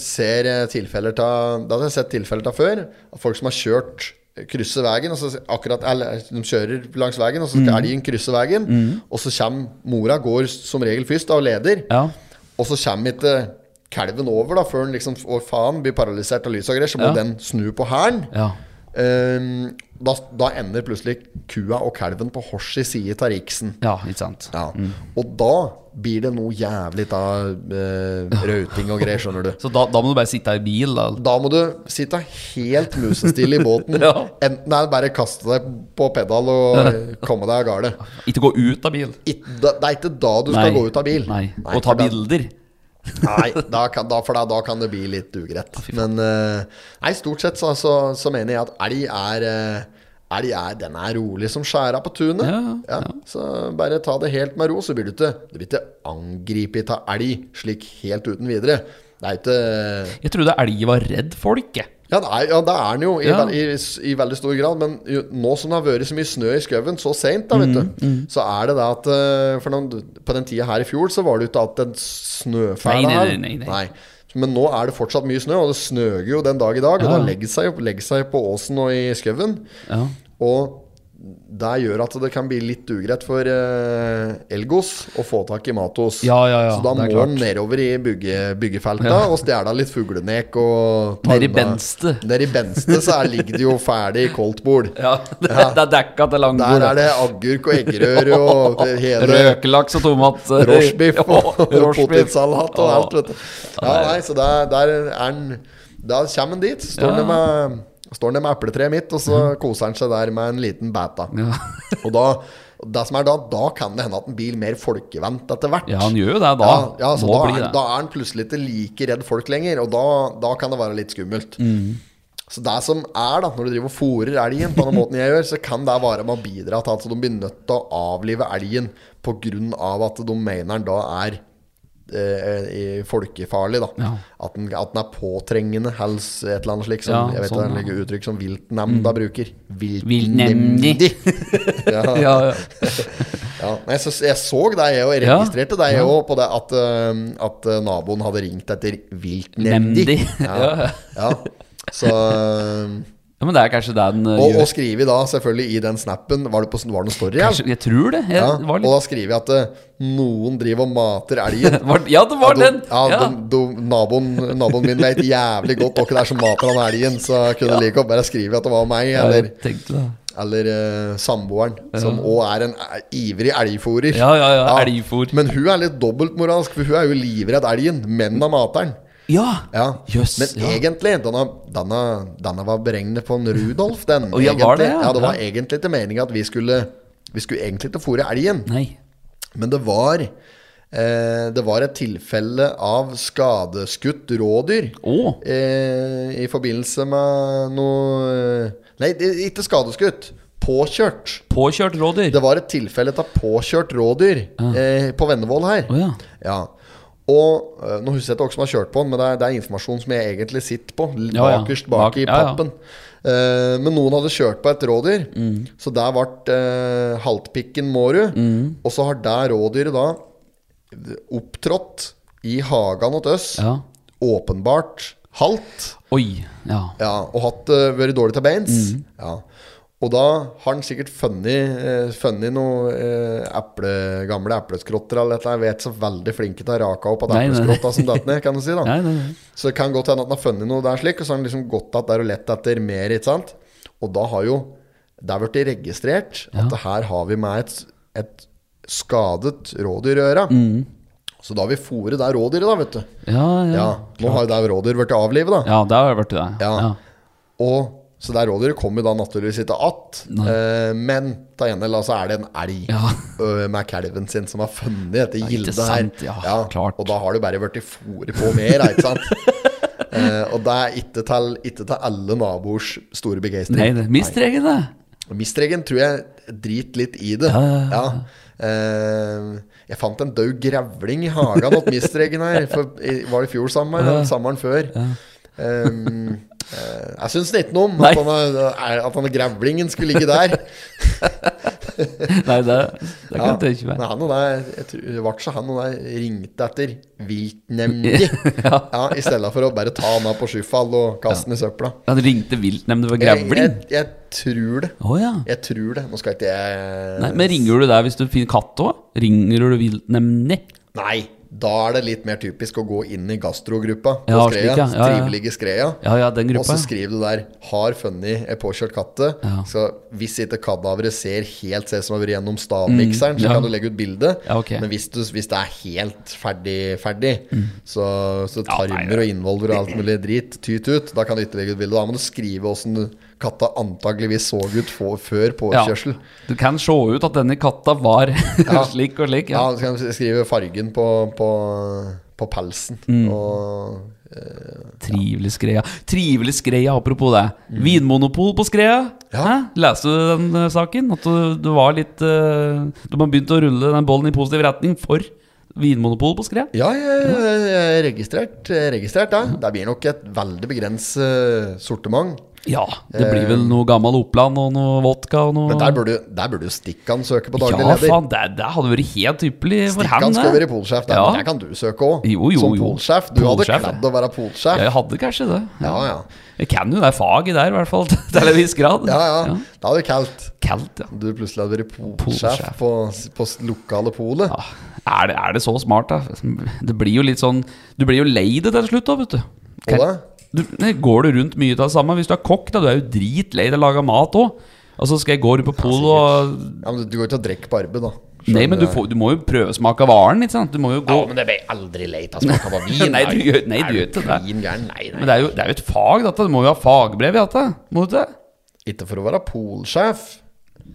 Speaker 1: ser eh, tilfeller ta Det har jeg sett tilfeller ta før. At folk som har kjørt krysser veien, og så akkurat, eller, eh, de kjører langs veien, og så
Speaker 2: Mm.
Speaker 1: skal elgen krysse veien, og så kommer mora, går som regel først, da, og leder.
Speaker 2: Ja.
Speaker 1: Og så kommer ikke kalven over da før den liksom Å, faen, blir paralysert av lys og greier. Så må
Speaker 2: Ja.
Speaker 1: den snu på hælen.
Speaker 2: ja.
Speaker 1: Ehm, da, da ender plutselig kua og kalven på hors i side av riksen.
Speaker 2: Ja, ikke sant.
Speaker 1: Ja. Og da blir det noe jævlig av rauting og greier, skjønner du.
Speaker 2: Så da, da må du bare sitte i bil, da.
Speaker 1: Da må du sitte helt musestille i båten.
Speaker 2: Ja.
Speaker 1: Enten er det bare å kaste deg på pedal og eh, komme deg av gårde.
Speaker 2: Ikke gå ut av bil.
Speaker 1: Ikke- da- Det er ikke da du skal gå ut av bil.
Speaker 2: Nei. Og ta
Speaker 1: for da-
Speaker 2: bilder.
Speaker 1: Nei, da kan, da, for da, da kan det bli litt ugreit. Men eh, nei, stort sett så, så, så mener jeg at elg er eh, Elg er, den er rolig som skjæra på tunet.
Speaker 2: Ja, ja,
Speaker 1: Så bare ta det helt med ro, så blir du ikke Du blir ikke angrepet av elg slik helt uten videre. Det er ikke
Speaker 2: Jeg trodde elg var redd folk, jeg.
Speaker 1: Ja, det er, ja, det er den jo i,
Speaker 2: Ja.
Speaker 1: vel- i, i veldig stor grad, men jo, nå som det har vært så mye snø i skauen så seint, da, vet
Speaker 2: Mm,
Speaker 1: du, så er det det at eh, For noen, på den tida her i fjor så var det jo ikke at en snøfæle
Speaker 2: Nei, nei,
Speaker 1: her.
Speaker 2: nei, nei, nei.
Speaker 1: Men nå er det fortsatt mye snø, og det snøger jo den dag i dag. Og
Speaker 2: Ja.
Speaker 1: da legger seg, jo- legger seg på åsen og i skauen.
Speaker 2: Ja.
Speaker 1: Og det gjør at det kan bli litt ugreit for eh, Elgos å få tak i Matos.
Speaker 2: Ja, ja, ja,
Speaker 1: så da
Speaker 2: det
Speaker 1: må
Speaker 2: er
Speaker 1: han
Speaker 2: klart.
Speaker 1: nedover i bygge, byggefelta og stjele litt fuglenek og ta
Speaker 2: Nede i
Speaker 1: unna-
Speaker 2: Benste.
Speaker 1: Nede i Benste så er, ligger det jo ferdig koldtbord.
Speaker 2: Ja, det,
Speaker 1: Ja.
Speaker 2: det er dekka til langbord.
Speaker 1: Der er det agurk og eggerøre og det hele
Speaker 2: Røkelaks og tomat.
Speaker 1: rochebiff og
Speaker 2: rochebiff.
Speaker 1: potetsalat og
Speaker 2: altså. Ja.
Speaker 1: alt, vet du. Ja, nei, så der, der er han Da kommer han dit. Står
Speaker 2: Ja. Mhm.
Speaker 1: han med Står han med epletreet mitt, og så koser han seg der med en liten bæta.
Speaker 2: Ja.
Speaker 1: Og da det som er da, da kan det hende at en blir mer folkevendt etter hvert.
Speaker 2: Ja, han gjør jo det da.
Speaker 1: Ja, ja, så
Speaker 2: Må
Speaker 1: da,
Speaker 2: bli
Speaker 1: er,
Speaker 2: det. Mhm.
Speaker 1: da er han plutselig ikke like redd folk lenger, og da, da kan det være litt skummelt. Så det som er, da, når du driver og fôrer elgen på den måten jeg gjør, så kan det være med å bidra til at de blir nødt til å avlive elgen pga. at de mener den da er eh, i- folkefarlig, da.
Speaker 2: Ja.
Speaker 1: At, den, at den er påtrengende, hels, et eller annet slikt. Som,
Speaker 2: Ja, Mm.
Speaker 1: jeg vet
Speaker 2: sånn,
Speaker 1: det er et uttrykk som viltnemnda bruker.
Speaker 2: Viltnemndi.
Speaker 1: ja.
Speaker 2: Ja, ja.
Speaker 1: Ja, men jeg, så, jeg så deg òg, jeg
Speaker 2: Ja.
Speaker 1: registrerte deg
Speaker 2: Ja.
Speaker 1: òg på det at, øhm, at øh, naboen hadde ringt etter viltnemndi.
Speaker 2: Nemndi.
Speaker 1: Ja. ja.
Speaker 2: Ja.
Speaker 1: Så, øhm,
Speaker 2: ja, men det er kanskje det den eh,
Speaker 1: og, og
Speaker 2: gjør.
Speaker 1: skrive da selvfølgelig i den snappen Var det på var det noen story? eller?
Speaker 2: Kanskje, jeg tror det. Jeg,
Speaker 1: ja,
Speaker 2: var
Speaker 1: Og
Speaker 2: litt,
Speaker 1: da skriver jeg at øh, noen driver og mater elgen.
Speaker 2: var, ja, det var
Speaker 1: Ja,
Speaker 2: den!
Speaker 1: do- Ja, do- do- naboen, naboen min vet jævlig godt hva det er som mater han elgen, så jeg kunne like godt bare skrive at det var meg,
Speaker 2: Ja,
Speaker 1: eller,
Speaker 2: jeg tenkte det.
Speaker 1: eller eh, samboeren, som òg er en eh, ivrig elgfòrer.
Speaker 2: Ja, ja, ja, elgfôr.
Speaker 1: Men hun er litt dobbeltmoralsk, for hun er jo livredd elgen, men av materen.
Speaker 2: Ja!
Speaker 1: Ja.
Speaker 2: Jøss.
Speaker 1: Men
Speaker 2: ja.
Speaker 1: egentlig, denne, denne, denne var beregnet på en Rudolf, den.
Speaker 2: Å, ja, var
Speaker 1: egentlig.
Speaker 2: det, ja?
Speaker 1: ja, det var
Speaker 2: Ja.
Speaker 1: egentlig ikke meninga at vi skulle Vi skulle egentlig ikke fôre elgen.
Speaker 2: Nei.
Speaker 1: Men det var eh, Det var et tilfelle av skadeskutt rådyr
Speaker 2: Å!
Speaker 1: eh, i forbindelse med noe eh, Nei, det, ikke skadeskutt. Påkjørt.
Speaker 2: Påkjørt rådyr.
Speaker 1: Det var et tilfelle av påkjørt rådyr eh, på Vennevoll her.
Speaker 2: Å, ja.
Speaker 1: Ja. Og eh, nå husker jeg ikke hvem som har kjørt på den, men det er, det er informasjon som jeg egentlig sitter på. l-
Speaker 2: Ja, ja.
Speaker 1: Bakerst bak
Speaker 2: Bak-
Speaker 1: i
Speaker 2: ja, ja.
Speaker 1: pappen. Eh, men noen hadde kjørt på et rådyr,
Speaker 2: Mm.
Speaker 1: så der ble eh, haltpikken Mårud.
Speaker 2: Mm.
Speaker 1: Og så har det rådyret da opptrådt i hagen hos oss.
Speaker 2: Ja.
Speaker 1: Åpenbart halt.
Speaker 2: Oi. Ja.
Speaker 1: Ja, og hatt eh, vært dårlig til beins.
Speaker 2: Mhm.
Speaker 1: Ja. Og da har han sikkert funnet, uh, funnet noen eple, gamle epleskrotter eller noe. Jeg vet så veldig flinke til å rake opp at
Speaker 2: Nei, nei.
Speaker 1: epleskrotta som datt ned, kan du si. da
Speaker 2: Nei, nei, nei.
Speaker 1: Så det kan godt hende at han har funnet noe der slik, og så har han liksom gått att der og lett etter mer, ikke sant. Og da har jo det blitt registrert at det her har vi med et, et skadet rådyr å gjøre. Så da har vi fôret det rådyret, da, vet du.
Speaker 2: Ja, Mhm. ja.
Speaker 1: Ja, Nå har jo det rådyret blitt avlivet, da.
Speaker 2: Ja, det har vært det.
Speaker 1: Ja. Og så det rådyret kommer jo da naturligvis ikke att.
Speaker 2: Nei.
Speaker 1: Eh, men ta igjen, eller altså er det en elg
Speaker 2: Ja.
Speaker 1: ø, med kalven sin som har funnet dette
Speaker 2: ikke
Speaker 1: gildet her.
Speaker 2: sant. Ja, klart.
Speaker 1: Og da har du bare blitt fôret på mer, ikke sant? eh, og det er ikke til, ikke til alle naboers store begeistring.
Speaker 2: Nei, det mister jeg det.
Speaker 1: Mistregen tror jeg driter litt i det. Ja, Eh, jeg fant en død grevling i hagen hos mistregen her. For, i, var det i fjor sommer? eller Sommeren før. Ehm, eh, jeg syns ikke noe om
Speaker 2: Nei.
Speaker 1: at han, er, at han er grevlingen skulle ligge der.
Speaker 2: Nei, det, det kan jeg tenke meg.
Speaker 1: Men han og deg, jeg tror, det var så han og deg ringte etter viltnemndi. ja. I stedet for å bare ta han av på skyfall og kaste han i søpla.
Speaker 2: Han ringte viltnemnda for
Speaker 1: Jeg, jeg,
Speaker 2: grevling.
Speaker 1: jeg tror det.
Speaker 2: Å ja.
Speaker 1: Jeg tror det. Nå skal ikke jeg
Speaker 2: Nei, men ringer du der hvis du finner katt òg? Ringer du viltnemnda?
Speaker 1: Nei, da er det litt mer typisk å gå inn i gastrogruppa på
Speaker 2: Ja,
Speaker 1: Skreia.
Speaker 2: slik, ja. Ja, ja.
Speaker 1: Trivelige Skreia.
Speaker 2: Ja, ja, den
Speaker 1: Og så
Speaker 2: gruppa. ja.
Speaker 1: skriver du der 'Har funnet ei påkjørt katte'. Så hvis ikke kadaveret ser helt ser som har vært gjennom stavmikseren, så
Speaker 2: Mm, ja.
Speaker 1: kan du legge ut bilde.
Speaker 2: Ja, ok. Mm.
Speaker 1: Men hvis, du, hvis det er helt ferdig, ferdig, så, så
Speaker 2: Ja, nei,
Speaker 1: tarmer og innvolver og alt mulig drit tyt ut, da kan du ikke legge ut bilde. Da må du skrive åssen katta antageligvis så ut få- før påkjørsel.
Speaker 2: Du kan se ut at denne katta var slik og slik. Ja.
Speaker 1: Ja, så kan du skrive fargen på, på, på pelsen.
Speaker 2: Mm.
Speaker 1: Og eh,
Speaker 2: Trivelig Skreia. Trivelig Skreia, apropos det. Vinmonopol på Skreia.
Speaker 1: Mm. Ja.
Speaker 2: Hæ? Leste du den eh, saken? At du, du var litt eh, De har begynt å rulle den bollen i positiv retning for vinmonopol på Skreia?
Speaker 1: ja, jeg, jeg, jeg er registrert, jeg er registrert ja. Det blir nok et veldig begrenset eh, sortiment.
Speaker 2: Ja. Det blir vel noe gammel Oppland og noe vodka og noe
Speaker 1: Eh. Men der burde, der burde jo Stikkan søke på daglig
Speaker 2: Ja,
Speaker 1: leder.
Speaker 2: faen, det, det hadde vært helt ypperlig for ham.
Speaker 1: Stikkan skal
Speaker 2: det.
Speaker 1: være polsjef, der,
Speaker 2: Ja.
Speaker 1: men der kan du søke òg.
Speaker 2: Jo, jo,
Speaker 1: Som
Speaker 2: jo.
Speaker 1: polsjef. Du hadde
Speaker 2: Polsjef,
Speaker 1: kledd
Speaker 2: ja.
Speaker 1: å være
Speaker 2: Ja,
Speaker 1: polsjef.
Speaker 2: jeg hadde kanskje det.
Speaker 1: Ja, ja.
Speaker 2: Jeg kan jo det faget der, i hvert fall. Til en viss grad.
Speaker 1: Ja, ja. Det hadde du kalt.
Speaker 2: Kaldt, ja.
Speaker 1: Du plutselig hadde vært polsjef
Speaker 2: Polsjef.
Speaker 1: på, på s- lokale polet.
Speaker 2: Ja, Ah, er det, er det så smart, da? Det blir jo litt sånn Du blir jo lei det til slutt, da, vet du.
Speaker 1: Og da?
Speaker 2: du nei, går du rundt mye av det samme? Hvis du er kokk, da, du er jo dritlei av å lage mat òg. Altså, skal jeg gå rundt på polet og
Speaker 1: Ja, men du, du går ikke og drikker på arbeid, da.
Speaker 2: Nei,
Speaker 1: Selv
Speaker 2: men
Speaker 1: om
Speaker 2: du,
Speaker 1: det-
Speaker 2: får, du må jo prøvesmake varen, ikke sant? Du må jo gå
Speaker 1: men det blir aldri leit altså. av smak av vin.
Speaker 2: Nei, du gjør- nei, du gjør ikke det.
Speaker 1: klin gæren? Nei, nei.
Speaker 2: Men det er jo, det er jo et fag, dette. Du må jo ha fagbrev i dette. Må du ikke det?
Speaker 1: Ikke for å være polsjef.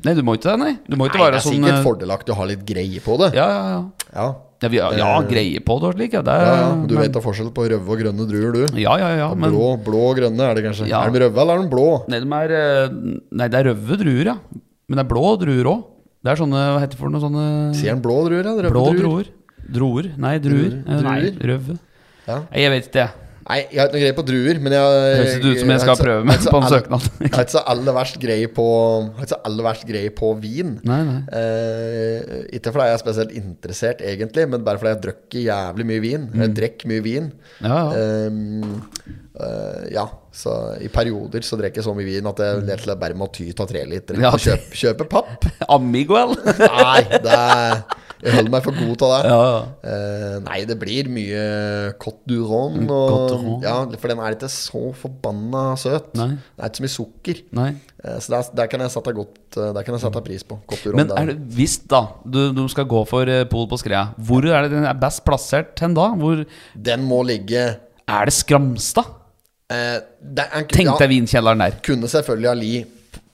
Speaker 2: Nei, du må ikke det, nei. Du
Speaker 1: Nei,
Speaker 2: må ikke
Speaker 1: det
Speaker 2: være
Speaker 1: er
Speaker 2: sånn
Speaker 1: sikkert
Speaker 2: eh,
Speaker 1: fordelaktig å ha litt greie på det.
Speaker 2: Ja, ja, ja.
Speaker 1: Ja.
Speaker 2: Ja, vi, ja
Speaker 1: Eh,
Speaker 2: greie på det og slik, ja. Det,
Speaker 1: Ja, ja, men Du
Speaker 2: Eh, men-
Speaker 1: vet da forskjell på røde og grønne druer, du.
Speaker 2: Ja, ja, ja. Men
Speaker 1: Blå, blå og grønne er det kanskje.
Speaker 2: Ja.
Speaker 1: Er de røde, eller er de blå?
Speaker 2: Nei, de er, eh, nei, det er røde druer, ja. Men det er blå druer òg. Det er sånne Hva heter det for noe sånne
Speaker 1: Sier han blå druer, ja? Røde
Speaker 2: Blå
Speaker 1: druer?
Speaker 2: druer. Droer. Nei, druer.
Speaker 1: Druer.
Speaker 2: Eh, Nei,
Speaker 1: Druer.
Speaker 2: røve.
Speaker 1: Ja.
Speaker 2: Nei, Jeg vet ikke, jeg.
Speaker 1: Nei, jeg har ikke noe greie på druer, men jeg altså,
Speaker 2: Det høres ikke ut som jeg skal prøve meg på en søknad.
Speaker 1: Jeg har ikke så aller verst greie på Jeg har ikke så aller verst greie på vin.
Speaker 2: Nei, nei.
Speaker 1: Eh, ikke fordi jeg er spesielt interessert, egentlig, men bare fordi jeg drikker jævlig mye vin. Jeg drikker mye vin.
Speaker 2: Mm. Ja, ja.
Speaker 1: Eh, eh, ja, så i perioder så drikker jeg så mye vin at jeg rett og slett bare må ty til tre liter.
Speaker 2: Mm. Ja,
Speaker 1: og Kjøpe, kjøpe papp.
Speaker 2: Amiguel.
Speaker 1: Nei, det er, jeg holder meg for god til det.
Speaker 2: Ja, ja.
Speaker 1: Eh, nei, det blir mye Côte du Rhône.
Speaker 2: Mm, Côte du
Speaker 1: og-
Speaker 2: Rhône.
Speaker 1: Ja, for den er ikke så forbanna søt.
Speaker 2: Nei.
Speaker 1: Det er ikke så mye sukker.
Speaker 2: Nei. Mm.
Speaker 1: Eh, så der, der kan jeg sette, godt, eh, der kan jeg sette pris på. Côte du
Speaker 2: Men
Speaker 1: Rhône.
Speaker 2: er det, hvis da du, du skal gå for eh, Pol på Skrea, hvor er det den er best plassert hen da? Hvor
Speaker 1: der. Den må ligge
Speaker 2: er det Skramstad?
Speaker 1: eh, det er en-
Speaker 2: Tenk
Speaker 1: ja,
Speaker 2: deg vinkjelleren der.
Speaker 1: Kunne selvfølgelig ha li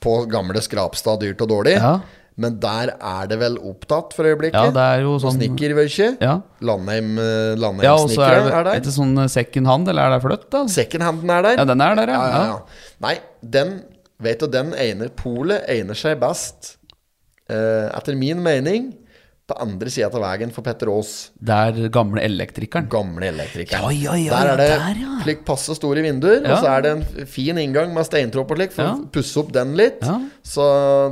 Speaker 1: på gamle Skrapstad dyrt og dårlig.
Speaker 2: Ja.
Speaker 1: Men der er det vel opptatt for øyeblikket.
Speaker 2: Ja, det er jo
Speaker 1: På
Speaker 2: sånn-
Speaker 1: Snikkervøykje.
Speaker 2: Ja.
Speaker 1: Landheim, eh, Landheim
Speaker 2: Ja, og så er
Speaker 1: Snikkere
Speaker 2: det
Speaker 1: er der.
Speaker 2: er det sånn eh, second hand, eller er det fløtt, da?
Speaker 1: Secondhanden er der.
Speaker 2: Ja, den er der, ja.
Speaker 1: ja, ja. Nei, den Vet du, den egner Polet egner seg best, eh, etter min mening, på andre sida av veien for Petter Aas,
Speaker 2: Der gamle elektrikeren.
Speaker 1: gamle elektriker.
Speaker 2: Ja, ja, ja,
Speaker 1: der
Speaker 2: ja,
Speaker 1: er det
Speaker 2: der, ja.
Speaker 1: slik passe store vinduer, og
Speaker 2: Ja.
Speaker 1: så er det en fin inngang med steintropp og slik, for
Speaker 2: Ja.
Speaker 1: å pusse opp den litt.
Speaker 2: Ja.
Speaker 1: Så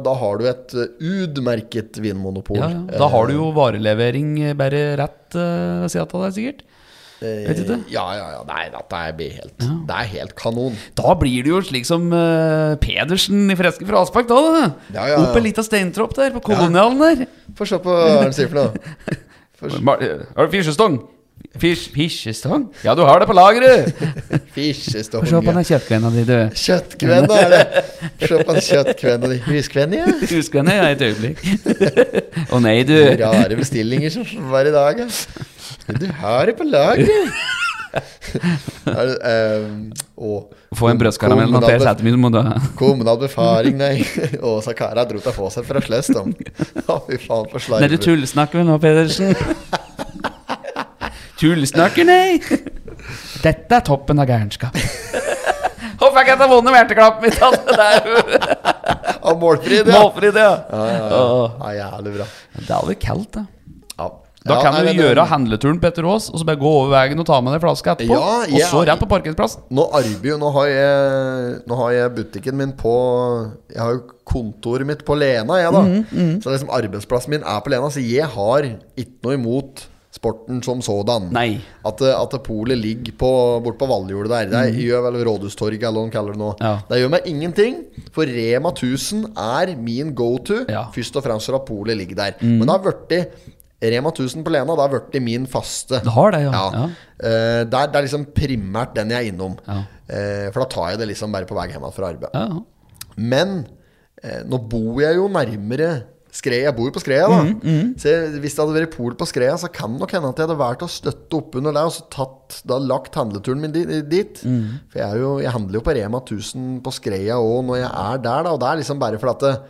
Speaker 1: da har du et eh, utmerket vinmonopol.
Speaker 2: Ja, ja. Da har du jo varelevering eh, bare rett eh, ved sida av deg, sikkert.
Speaker 1: Eh,
Speaker 2: vet du det?
Speaker 1: Ja, ja, ja. Nei, dette er blir helt, det er helt kanon.
Speaker 2: Da blir det jo slik som eh, Pedersen i Freske fra Aspak, da. da.
Speaker 1: Ja, ja, ja.
Speaker 2: Opp en lita steintropp der, på kolonialen der.
Speaker 1: Få se på hva han sier for noe.
Speaker 2: Mar- eh, Har du fisjestong? Fisj, fisjestong? Ja, du har det på lageret!
Speaker 1: Fisjestonge.
Speaker 2: Se på den kjøttgreina di, du.
Speaker 1: Kjøttkvenna er det. Se på den kjøttkvenna di. Huskvenna, ja.
Speaker 2: Husk henne ja, et øyeblikk. Å nei, du.
Speaker 1: Rare bestillinger som var i dag, ja. Du har det på lageret. Er det, ehm, å,
Speaker 2: Få en brødskaramell av
Speaker 1: kommunal
Speaker 2: Per
Speaker 1: bef-
Speaker 2: Sætermyr, må du ha.
Speaker 1: Kommunal befaring, nei. Åsa Kara dro til å få seg fra sløst, om. Å, fy faen, for
Speaker 2: Nei, du
Speaker 1: slarv.
Speaker 2: tullsnakker vel nå, Pedersen? tullsnakker, nei! Dette er toppen av gærenskap. Håper jeg ikke at jeg vunnet verteklappen mitt. Altså. Det er jo
Speaker 1: Av målfri, ja.
Speaker 2: målfri, det. Ja,
Speaker 1: Ja, jævlig bra.
Speaker 2: Det er jo kaldt, det.
Speaker 1: Ja.
Speaker 2: Da
Speaker 1: Ja,
Speaker 2: kan
Speaker 1: nei,
Speaker 2: du
Speaker 1: men,
Speaker 2: gjøre
Speaker 1: eh,
Speaker 2: handleturen Petter Aas, og så bare gå over veien og ta med deg flaska etterpå.
Speaker 1: Ja,
Speaker 2: Og så
Speaker 1: jeg-
Speaker 2: rett på parkeringsplassen.
Speaker 1: Nå arbeider jo, nå har jeg Nå har jeg butikken min på Jeg har jo kontoret mitt på Lena, jeg, da.
Speaker 2: Mhm,
Speaker 1: Så liksom arbeidsplassen min er på Lena, så jeg har ikke noe imot sporten som sådan.
Speaker 2: Nei.
Speaker 1: At, eh, at polet ligger på, bort på Valhjulet der. Det gjør vel Rådhustorget, eller hva de kaller det nå.
Speaker 2: Mhm. Ja.
Speaker 1: Det gjør meg ingenting, for Rema 1000 er min go to,
Speaker 2: Ja. Mhm.
Speaker 1: først og fremst for at polet ligger der. Men det har blitt Rema 1000 på Lena, det har blitt min faste.
Speaker 2: Det har det, ja.
Speaker 1: Ja.
Speaker 2: Ja.
Speaker 1: Eh, det, er, det er liksom primært den jeg er innom.
Speaker 2: Ja.
Speaker 1: Eh, for da tar jeg det liksom bare på vei hjem fra arbeid.
Speaker 2: Ja, ja.
Speaker 1: Men eh, nå bor jeg jo nærmere Skreia. Jeg bor jo på Skreia, da.
Speaker 2: Mhm,
Speaker 1: Så jeg, hvis det hadde vært pol på Skreia, så kan det nok hende at jeg hadde valgt å støtte oppunder det og så tatt, da lagt handleturen min di- dit.
Speaker 2: Mhm.
Speaker 1: For jeg, er jo, jeg handler jo på Rema 1000 på Skreia òg når jeg er der, da. Og det er liksom bare fordi at det,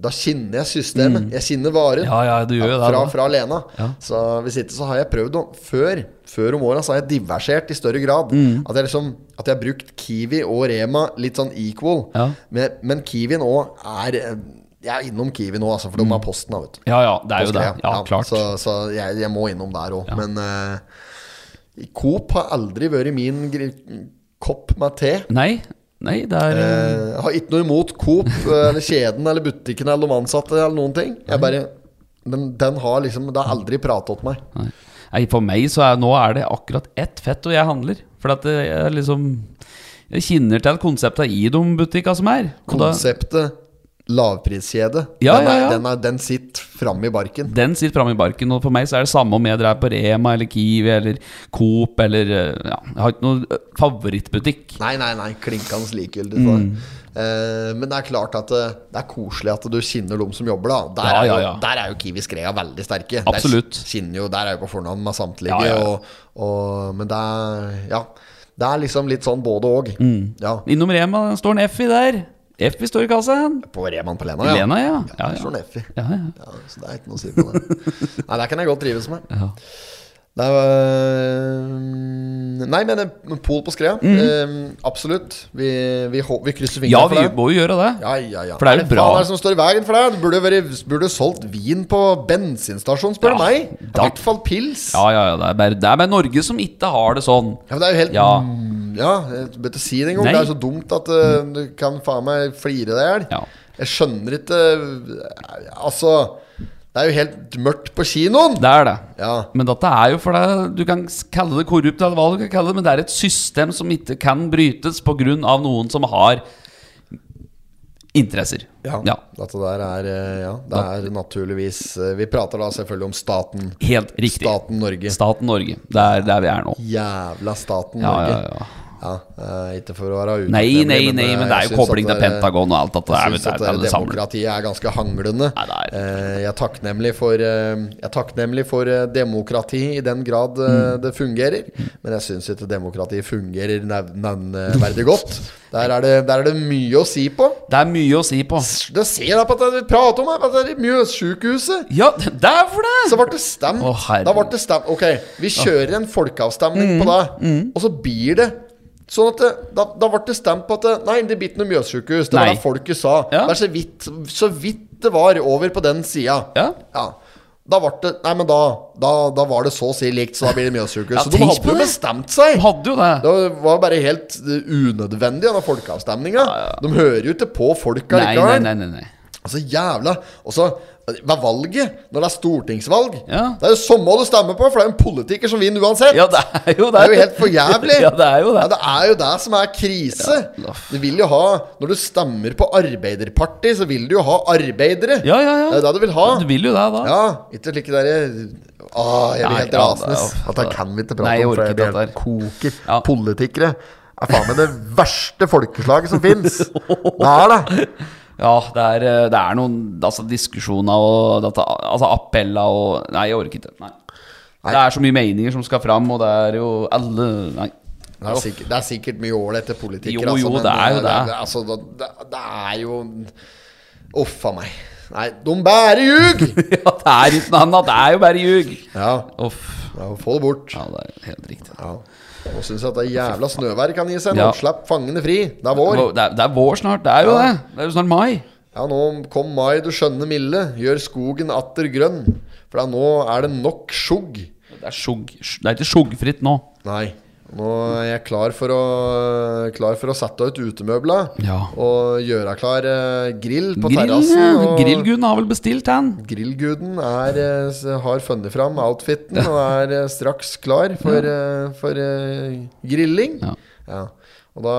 Speaker 1: da kjenner jeg systemet. Jeg kjenner varen
Speaker 2: Mhm. Ja, ja, du gjør jo det.
Speaker 1: fra,
Speaker 2: da.
Speaker 1: fra Lena.
Speaker 2: Ja.
Speaker 1: Så hvis ikke så har jeg prøvd å Før, før om åra så har jeg diversert i større grad.
Speaker 2: Mm.
Speaker 1: At, jeg liksom, at jeg har brukt Kiwi og Rema litt sånn equal.
Speaker 2: Ja.
Speaker 1: Men, men Kiwi nå er eh, Jeg er innom Kiwi nå, altså, for de har posten. da, Vet du.
Speaker 2: Ja, ja, Mm. det er jo det.
Speaker 1: Skreia.
Speaker 2: Ja, klart.
Speaker 1: Så, så jeg, jeg må innom der òg. Men eh, Coop har aldri vært min gri- kopp med te.
Speaker 2: Nei, nei, det er
Speaker 1: Eh, Jeg har ikke noe imot Coop eh, eller kjeden eller butikken eller de ansatte eller noen ting. Jeg bare den, den har liksom Det har aldri prata til meg.
Speaker 2: Nei. Nei, for meg så er nå er det akkurat ett fett og jeg handler. For at jeg er liksom Jeg kjenner til konsepta i de butikka som er. Og da,
Speaker 1: Konseptet lavpriskjede,
Speaker 2: Ja,
Speaker 1: den, er,
Speaker 2: ja, ja.
Speaker 1: Den, er, den sitter framme i barken.
Speaker 2: den sitter framme i barken, og for meg så er det samme om jeg drar på Rema eller Kiwi eller Coop eller eh, ja, Jeg har ikke noen eh, favorittbutikk.
Speaker 1: Nei, nei, nei. Klinkende likegyldig. for
Speaker 2: Mm.
Speaker 1: deg. Eh, men det er klart at det, det er koselig at du kjenner de som jobber, da. Der,
Speaker 2: Ja,
Speaker 1: er, jo,
Speaker 2: ja, ja.
Speaker 1: der er jo Kiwi Skrea veldig sterke.
Speaker 2: Absolutt.
Speaker 1: Der, kjenner jo, der er jo på fornavn med samtlige.
Speaker 2: Ja, ja, ja.
Speaker 1: Og, og, men det
Speaker 2: Mm.
Speaker 1: er Ja. Det er liksom litt sånn både og Ja.
Speaker 2: Innom Rema den står en F i der. F i storkassa.
Speaker 1: På Reman på Lena, ja.
Speaker 2: Lena, ja. Ja,
Speaker 1: Det står
Speaker 2: ja.
Speaker 1: en F i.
Speaker 2: ja, ja.
Speaker 1: Ja, så det er ikke noe å si på det. Nei, det kan jeg godt trives med.
Speaker 2: Ja.
Speaker 1: Det er, øh, nei, men en pol på skreia. Eh, absolutt. Vi, vi, hå- vi krysser fingrene
Speaker 2: Mhm. ja,
Speaker 1: for
Speaker 2: vi
Speaker 1: det.
Speaker 2: må jo gjøre det.
Speaker 1: Ja, ja, ja.
Speaker 2: For det er jo bra.
Speaker 1: Hva er det som står i veien for deg? Du burde, jo vært, burde jo solgt vin på bensinstasjon, spør du
Speaker 2: Ja,
Speaker 1: meg. I
Speaker 2: da-
Speaker 1: hvert fall pils.
Speaker 2: Ja, ja, ja. Det er bare, det er bare Norge som ikke har det sånn.
Speaker 1: Ja, men det er jo helt Ja,
Speaker 2: Ja.
Speaker 1: ja jeg bør ikke si det engang.
Speaker 2: Nei. Mm.
Speaker 1: Det er jo så dumt at øh, du kan faen meg flire deg i hjel.
Speaker 2: Ja.
Speaker 1: Jeg skjønner ikke øh, Altså, det er jo helt mørkt på kinoen.
Speaker 2: Det er det.
Speaker 1: Ja.
Speaker 2: Men dette er jo for det Du kan s- kalle det korrupt, eller hva du kan kalle det, men det er et system som ikke kan brytes pga. noen som har interesser. ja.
Speaker 1: Dette der er øh, Ja, det er naturligvis øh, Vi prater da selvfølgelig om staten.
Speaker 2: Helt riktig.
Speaker 1: Staten Norge.
Speaker 2: Staten Norge. Det er der vi er nå.
Speaker 1: Jævla staten
Speaker 2: Ja,
Speaker 1: Norge.
Speaker 2: ja, ja.
Speaker 1: Ja, eh, ikke for å være utakknemlig,
Speaker 2: Nei, nei, nei, men det er
Speaker 1: jeg
Speaker 2: jo
Speaker 1: syns
Speaker 2: kobling
Speaker 1: at
Speaker 2: til
Speaker 1: det-
Speaker 2: Pentagon og alt dette der.
Speaker 1: Jeg syns
Speaker 2: vet du,
Speaker 1: at
Speaker 2: det er
Speaker 1: det
Speaker 2: det samlet.
Speaker 1: demokratiet er ganske hanglende.
Speaker 2: Nei, det er-
Speaker 1: Eh, Jeg er takknemlig for, eh, jeg er takknemlig for eh, demokrati i den grad eh,
Speaker 2: Mm.
Speaker 1: det fungerer. Men jeg syns ikke demokrati fungerer nev- nevneverdig godt. Der er, det, der er det mye å si på.
Speaker 2: Det er mye å si på.
Speaker 1: Det ser jeg på at vi prater om her, på dette Mjøssykehuset.
Speaker 2: Ja, det er for
Speaker 1: Så
Speaker 2: det!
Speaker 1: ble det stemt.
Speaker 2: Å, herregud.
Speaker 1: da ble det stemt. Ok, vi kjører en folkeavstemning på
Speaker 2: Mm,
Speaker 1: det, og så blir det Sånn at det, da, da ble det stemt på at det, Nei, det blir ikke noe Mjøssykehus. Det var
Speaker 2: Nei.
Speaker 1: det folket sa.
Speaker 2: Ja.
Speaker 1: Det er så vidt, så vidt det var over på den sida.
Speaker 2: Ja.
Speaker 1: Da ble det Nei, men da, da, da var det så å si likt, så da blir det Mjøssykehus.
Speaker 2: Ja,
Speaker 1: så de
Speaker 2: tenk
Speaker 1: hadde
Speaker 2: på
Speaker 1: jo
Speaker 2: det.
Speaker 1: bestemt seg.
Speaker 2: De hadde jo det.
Speaker 1: Det var jo bare helt eh, unødvendig, denne folkeavstemninga. De hører jo ikke på folka
Speaker 2: Nei, nei, nei. nei, nei.
Speaker 1: Altså jævla Og så ved valget, når det er stortingsvalg
Speaker 2: Ja.
Speaker 1: Det er jo samme du stemmer på, for det er jo en politiker som vinner uansett.
Speaker 2: Ja, det er jo
Speaker 1: Det
Speaker 2: det.
Speaker 1: er jo helt for jævlig.
Speaker 2: Ja, det er jo det.
Speaker 1: Ja, det er jo det som er krise.
Speaker 2: Ja.
Speaker 1: Du vil jo ha Når du stemmer på Arbeiderpartiet, så vil du jo ha arbeidere.
Speaker 2: Ja, ja, ja.
Speaker 1: Det er det du vil ha.
Speaker 2: Du vil jo det, da.
Speaker 1: Ja, ikke slike derre Å, ah, jeg blir
Speaker 2: Nei,
Speaker 1: helt
Speaker 2: ja,
Speaker 1: rasende.
Speaker 2: det er-
Speaker 1: At det kan vi ikke prate
Speaker 2: Nei, jeg
Speaker 1: om, for
Speaker 2: orker
Speaker 1: jeg blir
Speaker 2: ikke
Speaker 1: helt koker.
Speaker 2: Ja.
Speaker 1: Politikere er faen meg det verste folkeslaget som fins. Det er det.
Speaker 2: Ja, det er, eh, det er noen altså, diskusjoner og dette, altså, appeller og Nei, jeg orker ikke. Nei.
Speaker 1: Nei.
Speaker 2: Det er så mye meninger som skal fram, og det er jo alle Nei.
Speaker 1: Det er, sikkert, det er sikkert mye ålreite politikere.
Speaker 2: Jo, jo,
Speaker 1: men
Speaker 2: det er jo det.
Speaker 1: altså, det, det, det er jo Uff a meg. Nei, de bærer ljug!
Speaker 2: Ja, det er ikke noe annet. Det er jo bare ljug.
Speaker 1: Ja,
Speaker 2: Uff.
Speaker 1: ja, få det bort.
Speaker 2: Ja, det er helt riktig.
Speaker 1: Ja. Nå syns jeg at det jævla snøværet kan gi seg. Nå
Speaker 2: Ja.
Speaker 1: slapp fangene fri. Det er vår.
Speaker 2: Det er, det er vår snart. Det er jo
Speaker 1: Ja.
Speaker 2: det. Det er jo snart mai.
Speaker 1: Ja, nå kom mai, du skjønne milde. Gjør skogen atter grønn. For da nå er det nok skjugg.
Speaker 2: Det er, sjugg, det er ikke sjoggfritt nå.
Speaker 1: Nei. Nå er jeg klar for å, klar for å sette ut utemøbla.
Speaker 2: Ja.
Speaker 1: Og gjøre klar eh, grill på
Speaker 2: Grill,
Speaker 1: terrassen. og-
Speaker 2: Grillguden har vel bestilt den?
Speaker 1: Grillguden er, eh, s- har funnet fram outfiten og er eh, straks klar for, eh, for eh, grilling.
Speaker 2: Ja.
Speaker 1: Ja. Og da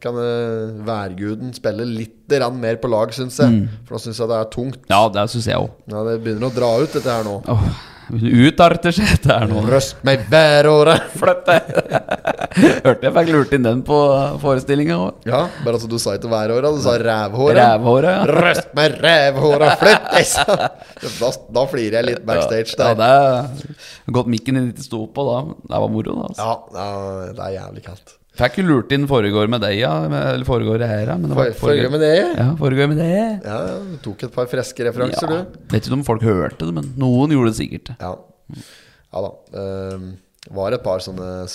Speaker 1: kan eh, værguden spille litt rann mer på lag, syns jeg.
Speaker 2: Mm.
Speaker 1: For nå syns jeg det er tungt.
Speaker 2: Ja, det syns jeg òg.
Speaker 1: Ja, det begynner å dra ut, dette her nå.
Speaker 2: Åh, utarter seg dette her nå.
Speaker 1: Røst meg væråret!
Speaker 2: Flytt deg! Hørte jeg fikk lurt inn den på eh, forestillinga òg.
Speaker 1: Ja, bare at du sa ikke væråret, du sa rævhåret.
Speaker 2: Rævhåret, ja.
Speaker 1: Røst meg rævhåret, flytt deg! sa- Da, da flirer jeg litt backstage
Speaker 2: Ja,
Speaker 1: der.
Speaker 2: det er godt mikken din ikke sto på da. Det var moro, da. Altså.
Speaker 1: Ja, ja, det er jævlig kaldt.
Speaker 2: Fikk jo lurt inn foregår med deg, ja. med- Eller foregår her, ja. Men det var
Speaker 1: For,
Speaker 2: ikke
Speaker 1: for,
Speaker 2: foregår.
Speaker 1: men det
Speaker 2: Ja, foregår med det.
Speaker 1: Ja, du tok et par freske
Speaker 2: Ja.
Speaker 1: referanser, du.
Speaker 2: Vet ikke om folk hørte det, men noen gjorde det sikkert.
Speaker 1: Ja. ja da. ehm, var et par sånne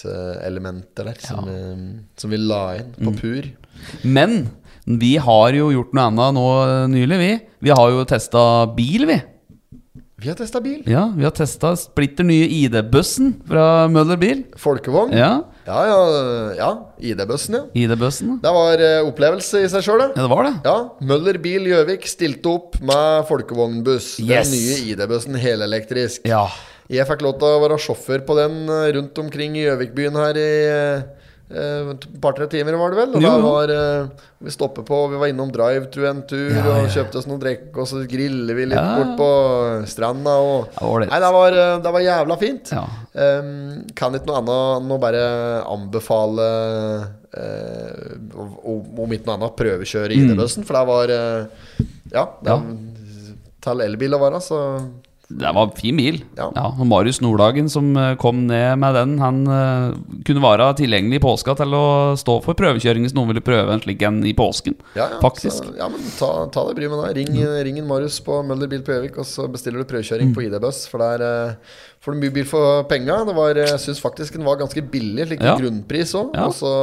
Speaker 1: surprise-elementer der som, ehm, som vi la inn på
Speaker 2: Mm.
Speaker 1: pur.
Speaker 2: Men vi har jo gjort noe annet nå eh, nylig, vi. Vi har jo testa bil, vi.
Speaker 1: Vi har testa bil.
Speaker 2: Ja, Vi har testa splitter nye ID-bussen fra Møller Bil.
Speaker 1: Folkevogn. Ja,
Speaker 2: Ja,
Speaker 1: ja. ja, ID-bussen, ja.
Speaker 2: ID-bussen.
Speaker 1: Det var eh, opplevelse i seg sjøl, det.
Speaker 2: Ja, det var det.
Speaker 1: Ja, Møller Bil Gjøvik stilte opp med folkevognbuss.
Speaker 2: Yes.
Speaker 1: Den nye ID-bussen helelektrisk.
Speaker 2: Ja.
Speaker 1: Jeg fikk lov til å være sjåfør på den eh, rundt omkring i Gjøvikbyen her i eh, et par-tre timer, var det vel? Og
Speaker 2: Jo,
Speaker 1: da
Speaker 2: jo.
Speaker 1: var eh, Vi stoppet på, vi var innom drive to en tur
Speaker 2: Ja, ja,
Speaker 1: og
Speaker 2: ja.
Speaker 1: kjøpte oss noe drikk, og så griller vi litt
Speaker 2: Ja.
Speaker 1: bort på stranda og
Speaker 2: Ja, ålreit.
Speaker 1: Nei, det var, eh, det var jævla fint.
Speaker 2: Ja.
Speaker 1: Ehm, kan ikke noe annet enn å bare anbefale eh, om, om ikke noe annet, prøvekjøre ID-bussen, for det var eh, Ja, det,
Speaker 2: Mm. Ja.
Speaker 1: til elbil å være, så
Speaker 2: Det var en fin bil.
Speaker 1: Ja.
Speaker 2: Ja. og Marius Nordhagen som eh, kom ned med den, han eh, kunne være tilgjengelig i påska til å stå for prøvekjøring hvis noen ville prøve en slik en i påsken.
Speaker 1: Ja, ja,
Speaker 2: Faktisk. Mm.
Speaker 1: Så, ja, men ta, ta deg bryet med det. Ring, ring en Marius på Møller bil på Gjøvik, og så bestiller du prøvekjøring på ID Buss. For der eh, får du mye bil for penga. Det var, eh, Jeg syns faktisk den var ganske billig, slik
Speaker 2: Ja.
Speaker 1: grunnpris òg.
Speaker 2: Ja.
Speaker 1: Og så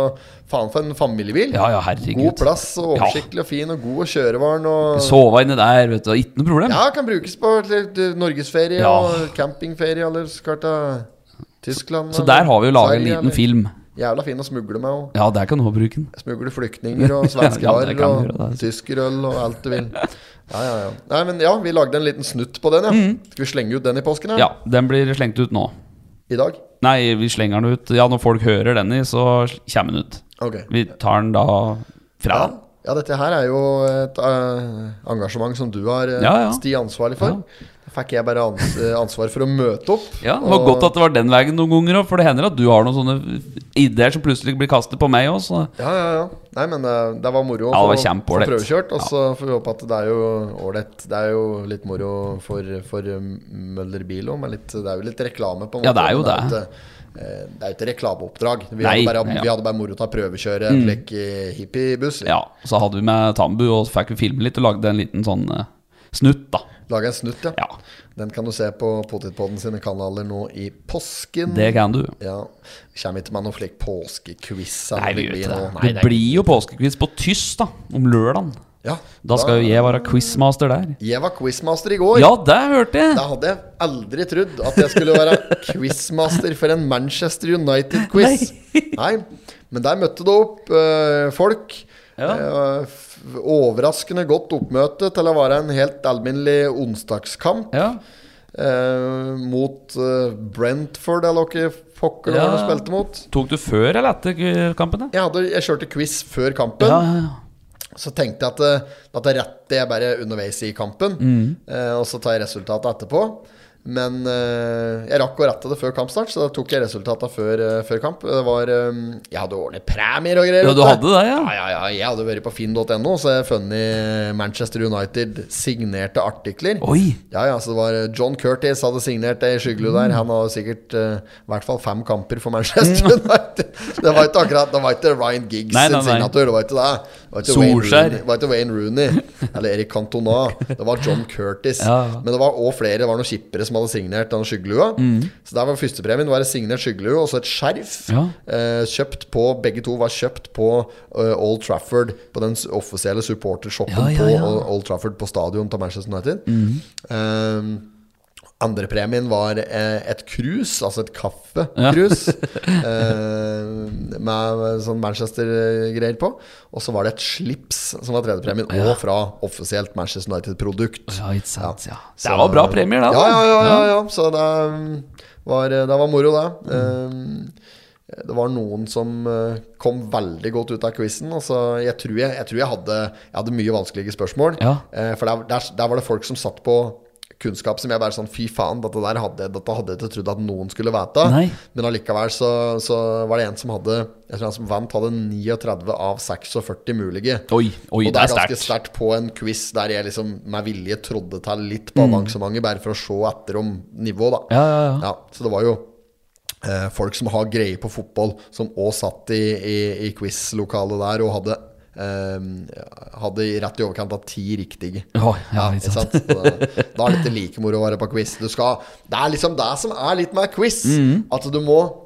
Speaker 1: faen for en familiebil.
Speaker 2: Ja, ja, herregud.
Speaker 1: God plass og oversiktlig og fin, og god å kjøre var den. Og
Speaker 2: Sova inni der, vet du. Ikke noe problem.
Speaker 1: ja, kan brukes på litt eh, norgesferie
Speaker 2: Ja.
Speaker 1: og campingferie, eller skal til Tyskland.
Speaker 2: Så
Speaker 1: eller
Speaker 2: der har vi jo laget en
Speaker 1: Sverige,
Speaker 2: liten
Speaker 1: eller-
Speaker 2: film.
Speaker 1: Jævla fin å smugle med òg.
Speaker 2: Ja, der kan du også bruke den.
Speaker 1: Smugle flyktninger og svenske
Speaker 2: Ja,
Speaker 1: varer
Speaker 2: det kan vi gjøre, det,
Speaker 1: og
Speaker 2: altså.
Speaker 1: tyskerøl og alt du vil. Ja, ja, ja. Nei, men ja, vi lagde en liten snutt på den, ja. Skal vi slenge ut den i påsken,
Speaker 2: Mm. Ja, den blir slengt ut nå.
Speaker 1: I dag?
Speaker 2: Nei, vi slenger den ut. Ja, når folk hører den i, så kommer den ut.
Speaker 1: Ok.
Speaker 2: Vi tar den da fra
Speaker 1: Ja.
Speaker 2: den.
Speaker 1: ja, dette her er jo et eh, engasjement som du har uh,
Speaker 2: Ja, ja.
Speaker 1: Sti ansvarlig for. Da fikk jeg bare ans eh, ansvar for å møte opp.
Speaker 2: Ja, Det var
Speaker 1: og-
Speaker 2: godt at det var den veien noen ganger òg, for det hender at du har noen sånne ideer som plutselig blir kastet på meg òg.
Speaker 1: Ja, ja, ja. Nei, men det, det var moro
Speaker 2: Ja, det
Speaker 1: å
Speaker 2: var
Speaker 1: få- få
Speaker 2: kjempeålreit.
Speaker 1: prøvekjørt. Og
Speaker 2: Ja.
Speaker 1: så får vi håpe at det er jo ålreit. Det er jo litt moro for, for um, Møller Bil òg, men litt, det er jo litt reklame, på en måte.
Speaker 2: Ja, det er jo
Speaker 1: men
Speaker 2: det.
Speaker 1: jo ikke, eh, Det er jo ikke reklameoppdrag. Vi,
Speaker 2: Nei,
Speaker 1: hadde bare,
Speaker 2: nei, ja. Mm.
Speaker 1: vi hadde bare moro til å prøvekjøre en flekk i hippiebuss.
Speaker 2: Ja, så hadde vi med Tambu, og så fikk vi filme litt og lagde en liten sånn eh, snutt, da.
Speaker 1: Lage en snutt, ja.
Speaker 2: Ja,
Speaker 1: Den kan du se på Potetpodden sine kanaler nå i påsken.
Speaker 2: det kan du.
Speaker 1: Ja. Kommer ikke med noen slik påskequiz. eller
Speaker 2: Nei, vi
Speaker 1: det
Speaker 2: gjør
Speaker 1: blir
Speaker 2: ikke det.
Speaker 1: noe-
Speaker 2: Det blir jo påskekviss på tysk, da. Om lørdagen.
Speaker 1: Ja,
Speaker 2: Da skal jo jeg være quizmaster der.
Speaker 1: Jeg var quizmaster i går.
Speaker 2: Ja, det hørte
Speaker 1: Da
Speaker 2: jeg!
Speaker 1: hadde jeg aldri trodd at jeg skulle være quizmaster for en Manchester United-quiz. Nei. Men der møtte det opp eh, folk.
Speaker 2: Ja.
Speaker 1: Eh, f- overraskende godt oppmøte til å være en helt alminnelig onsdagskamp
Speaker 2: Ja,
Speaker 1: eh, mot eh, Brentford, eller hva pokker det var de
Speaker 2: Ja.
Speaker 1: spilte mot.
Speaker 2: Tok du før eller etter eh, kampen? da?
Speaker 1: Jeg, hadde, jeg kjørte quiz før kampen.
Speaker 2: Ja, ja, ja.
Speaker 1: Så tenkte jeg at det, at det rette jeg bare underveis i kampen,
Speaker 2: Mm.
Speaker 1: eh, og så tar jeg resultatet etterpå. Men eh, jeg rakk å rette det før kampstart, så da tok jeg resultatene før, eh, før kamp. Det var eh, Jeg hadde ordnet premier og greier.
Speaker 2: Ja,
Speaker 1: vet
Speaker 2: du hadde det, ja.
Speaker 1: Ja, ja, ja. Jeg hadde vært på finn.no, så jeg funnet Manchester United signerte artikler.
Speaker 2: Oi!
Speaker 1: Ja, ja, så det var eh, John Curtis hadde signert det i Skyggelud der. Han hadde sikkert eh, i hvert fall fem kamper for Manchester United. Det var ikke akkurat Det var ikke Ryan Giggs
Speaker 2: Nei, nei,
Speaker 1: sin
Speaker 2: nei.
Speaker 1: signatur. Det var ikke det. det var ikke Wayne
Speaker 2: Solskjær.
Speaker 1: Rooney- Det var ikke Wayne Rooney eller Erik Cantona. Det var John Curtis.
Speaker 2: Ja, ja.
Speaker 1: Men det var òg flere. Det var noen skippere som hadde signert denne skyggelua.
Speaker 2: Mm.
Speaker 1: Så der var førstepremien. Det var en signert skyggelue og så et skjerf.
Speaker 2: Ja.
Speaker 1: Eh, kjøpt på Begge to var kjøpt på eh, Old Trafford, på den s- offisielle supportershoppen
Speaker 2: Ja, ja,
Speaker 1: på
Speaker 2: ja. Mhm.
Speaker 1: Old- Old Trafford, på stadion til Manchester United. Eh, Andrepremien var eh, et krus, altså et kaffekrus, eh, med sånn Manchester-greier på. Og så var det et slips som var tredjepremien, og fra offisielt Manchester United-produkt.
Speaker 2: Ja, ikke sant, ja.
Speaker 1: Så-
Speaker 2: Det var bra premier, da.
Speaker 1: Ja, ja, ja. ja, ja. Så det um, var, det var moro, det. Um, Det var noen som uh, kom veldig godt ut av quizen. Altså, jeg tror jeg, jeg, tror jeg, hadde, jeg hadde mye vanskelige spørsmål.
Speaker 2: Ja.
Speaker 1: Eh, For der, der, der var det folk som satt på kunnskap som jeg bare sånn Fy faen, dette der hadde, dette hadde jeg ikke trodd at noen skulle vite.
Speaker 2: Nei.
Speaker 1: Men allikevel så, så var det en som hadde Jeg tror han som vant, hadde 39 av 46 mulige.
Speaker 2: Oi, oi,
Speaker 1: og
Speaker 2: det er
Speaker 1: ganske
Speaker 2: sterkt.
Speaker 1: sterkt på en quiz der jeg liksom med vilje trådde til litt på avansementet, bare for å se etter om nivået, da.
Speaker 2: Mm. Ja, ja, ja.
Speaker 1: så det var jo eh, folk som har greie på fotball, som òg satt i, i, i quiz-lokalet der og hadde eh, hadde i rett i overkant av ti riktige.
Speaker 2: Oi, ja,
Speaker 1: Ja,
Speaker 2: ikke sant.
Speaker 1: ikke sant? Da, da er det ikke like moro å være på quiz. Du skal, det er liksom det som er litt med quiz.
Speaker 2: Mm.
Speaker 1: At du må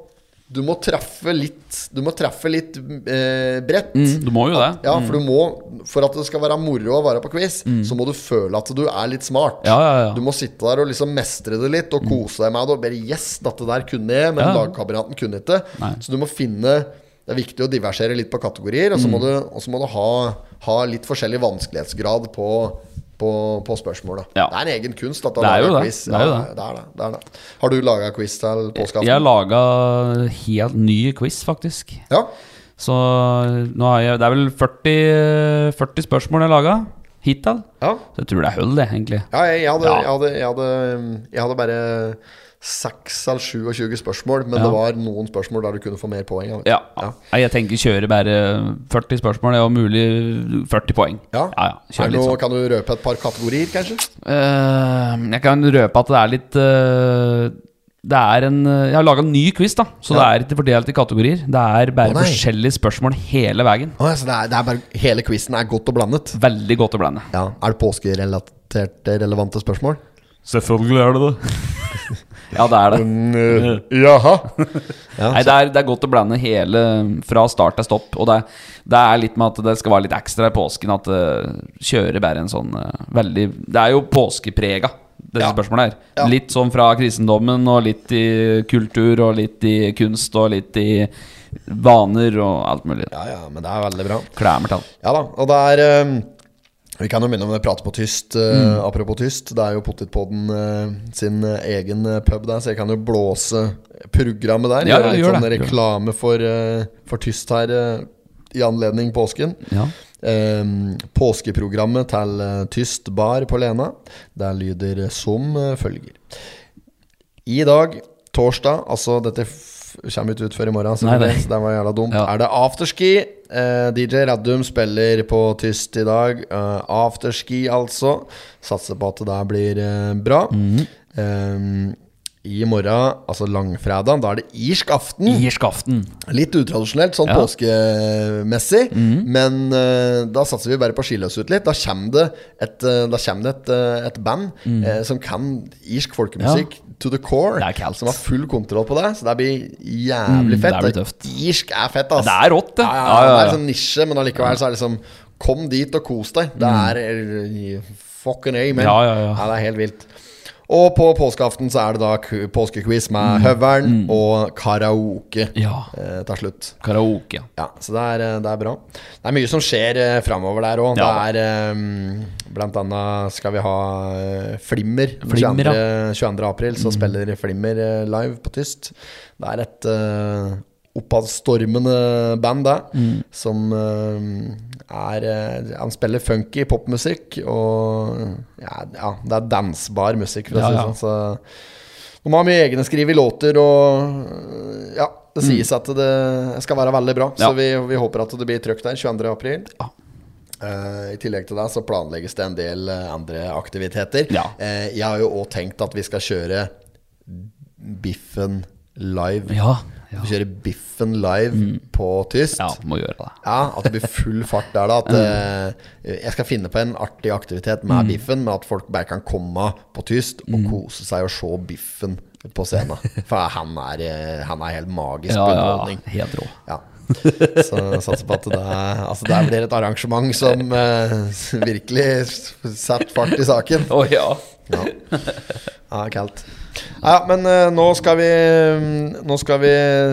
Speaker 1: Du må treffe litt Du må treffe litt eh, bredt.
Speaker 2: Mm, Du må jo det.
Speaker 1: Ja, for du må For at det skal være moro å være på quiz, så må du føle at du er litt smart.
Speaker 2: Ja, ja, ja.
Speaker 1: Du må sitte der og liksom mestre det litt og kose deg med det. Og bare 'yes, dette der kunne jeg', men
Speaker 2: Ja.
Speaker 1: lagkameraten kunne ikke.
Speaker 2: Nei.
Speaker 1: Så du må finne Det er viktig å diversere litt på kategorier, og så
Speaker 2: Mm.
Speaker 1: må du, og så må du ha, ha litt forskjellig vanskelighetsgrad på på, på spørsmål, da.
Speaker 2: Ja.
Speaker 1: Det er en egen kunst. At
Speaker 2: Det er jo det.
Speaker 1: Quiz.
Speaker 2: Det er jo
Speaker 1: Ja,
Speaker 2: det.
Speaker 1: det, er det. det er det. Har du laga quiz til
Speaker 2: Jeg
Speaker 1: påskeaften?
Speaker 2: laga helt ny quiz, faktisk.
Speaker 1: Ja.
Speaker 2: Så nå har jeg Det er vel 40, 40 spørsmål jeg laga hittil.
Speaker 1: ja.
Speaker 2: Så jeg tror det er hull, det, egentlig.
Speaker 1: Ja, jeg, jeg, hadde,
Speaker 2: Ja.
Speaker 1: Jeg, hadde, jeg, hadde, jeg hadde bare seks eller 27 spørsmål, men det var noen spørsmål der du kunne få mer poeng. av.
Speaker 2: Ja. Nei, Jeg tenker kjøre bare 40 spørsmål, det er jo mulig 40 poeng.
Speaker 1: Ja.
Speaker 2: ja, ja.
Speaker 1: Er
Speaker 2: Kjøre
Speaker 1: det
Speaker 2: litt
Speaker 1: noe,
Speaker 2: sånn.
Speaker 1: kan du røpe et par kategorier, kanskje?
Speaker 2: Eh, jeg kan røpe at det er litt eh, Det er en eh, Jeg har laga en ny quiz, da. Så det
Speaker 1: Ja.
Speaker 2: er ikke fordelt i kategorier. Det er bare
Speaker 1: Å, nei.
Speaker 2: forskjellige spørsmål hele veien.
Speaker 1: Å, altså, det, er, det er bare Hele quizen er godt og blandet.
Speaker 2: Veldig godt å blande.
Speaker 1: Ja, Er det påskerelaterte, relevante spørsmål?
Speaker 2: Selvfølgelig er det det. ja, det er det.
Speaker 1: Mm,
Speaker 2: Mm.
Speaker 1: jaha. Ja,
Speaker 2: Nei, det er, det er godt å blande hele fra start til stopp. Og det, det er litt med at det skal være litt ekstra i påsken at uh, kjører bare en sånn eh, veldig Det er jo påskeprega, dette
Speaker 1: Ja.
Speaker 2: spørsmålet her.
Speaker 1: Ja.
Speaker 2: Litt sånn fra kristendommen og litt i kultur og litt i kunst og litt i vaner og alt mulig.
Speaker 1: ja, ja, men det er veldig bra.
Speaker 2: Klemmer til han.
Speaker 1: Ja da, og det er eh, Vi kan jo minne om det pratet på tyst. eh,
Speaker 2: Mm.
Speaker 1: Apropos tyst, det er jo Pottitpodden eh, sin eh, egen eh, pub der, så jeg kan jo blåse programmet der.
Speaker 2: Ja,
Speaker 1: gjøre
Speaker 2: ja,
Speaker 1: litt
Speaker 2: gjør
Speaker 1: sånn
Speaker 2: det, gjør det.
Speaker 1: reklame for, eh, for tyst her eh, i anledning påsken.
Speaker 2: Ja.
Speaker 1: Eh, påskeprogrammet til eh, Tyst bar på Lena. Der lyder som eh, følger. I dag, torsdag, altså dette f kommer ikke ut før i morgen,
Speaker 2: Nei,
Speaker 1: selvfølgelig,
Speaker 2: nei.
Speaker 1: så det var jævla dumt.
Speaker 2: Ja.
Speaker 1: Er det afterski? Eh, DJ Radum spiller på tyst i dag. Eh, afterski, altså. Satser på at det der blir eh, bra.
Speaker 2: Mhm.
Speaker 1: Eh, I morgen, altså langfredag, da er det irsk aften.
Speaker 2: Irsk aften.
Speaker 1: Litt utradisjonelt, sånn
Speaker 2: Ja. Mhm.
Speaker 1: påskemessig. Men eh, da satser vi bare på å skille oss ut litt. Da kommer det et, eh, da kommer det et, eh, et band eh, som kan irsk folkemusikk to the core.
Speaker 2: Mhm. Det er kaldt.
Speaker 1: Som har full kontroll på det. Så det blir jævlig
Speaker 2: Mm,
Speaker 1: fett.
Speaker 2: det blir tøft.
Speaker 1: Irsk er fett, ass.
Speaker 2: Det er rått, det.
Speaker 1: Ja, ja,
Speaker 2: Ja, ja,
Speaker 1: Det
Speaker 2: ja.
Speaker 1: er sånn nisje, men allikevel så er det liksom Kom dit og kos deg. Det er eh, fucking amen.
Speaker 2: Mm. Ja, ja, ja.
Speaker 1: det er helt vilt. Og på påskeaften så er det da ku- påskequiz med Høveren
Speaker 2: Mm.
Speaker 1: og karaoke
Speaker 2: Ja.
Speaker 1: eh, til slutt.
Speaker 2: Karaoke.
Speaker 1: Ja, så det er, eh, det er bra. Det er mye som skjer eh, framover der òg.
Speaker 2: Ja.
Speaker 1: Det er eh, blant annet skal vi ha eh, Flimmer.
Speaker 2: Flimmer, Mm.
Speaker 1: 22. 22. april så spiller Flimmer eh, live på tyst. Det er et eh, oppadstormende band, det.
Speaker 2: Mm.
Speaker 1: Som eh, er eh, Han spiller funky popmusikk og ja, ja, det er dansbar musikk, for å
Speaker 2: Ja,
Speaker 1: si det
Speaker 2: ja.
Speaker 1: sånn. Så de har mye egne skriv i låter, og ja, det sies at det skal være veldig bra. Så
Speaker 2: Mm. Ja.
Speaker 1: vi, vi håper at det blir trøkk der 22. april.
Speaker 2: Ja.
Speaker 1: Eh, I tillegg til det så planlegges det en del eh, andre aktiviteter.
Speaker 2: Ja.
Speaker 1: Eh, jeg har jo òg tenkt at vi skal kjøre Biffen live.
Speaker 2: Ja. ja.
Speaker 1: Vi kjører Biffen live på tyst.
Speaker 2: ja må gjøre det.
Speaker 1: Ja, at det blir full fart der, da. At eh, jeg skal finne på en artig aktivitet
Speaker 2: Mm.
Speaker 1: med biffen, men at folk bare kan komme på tyst og kose seg og se biffen på scenen. For han er, eh, han er helt magisk
Speaker 2: Ja,
Speaker 1: på
Speaker 2: ja.
Speaker 1: underholdning.
Speaker 2: Helt rå.
Speaker 1: Ja. Så jeg satser på at det er Altså, det blir et arrangement som eh, virkelig setter fart i saken.
Speaker 2: Å ja.
Speaker 1: Ja, ja kaldt. Ja, men eh, nå skal vi mm, Nå skal vi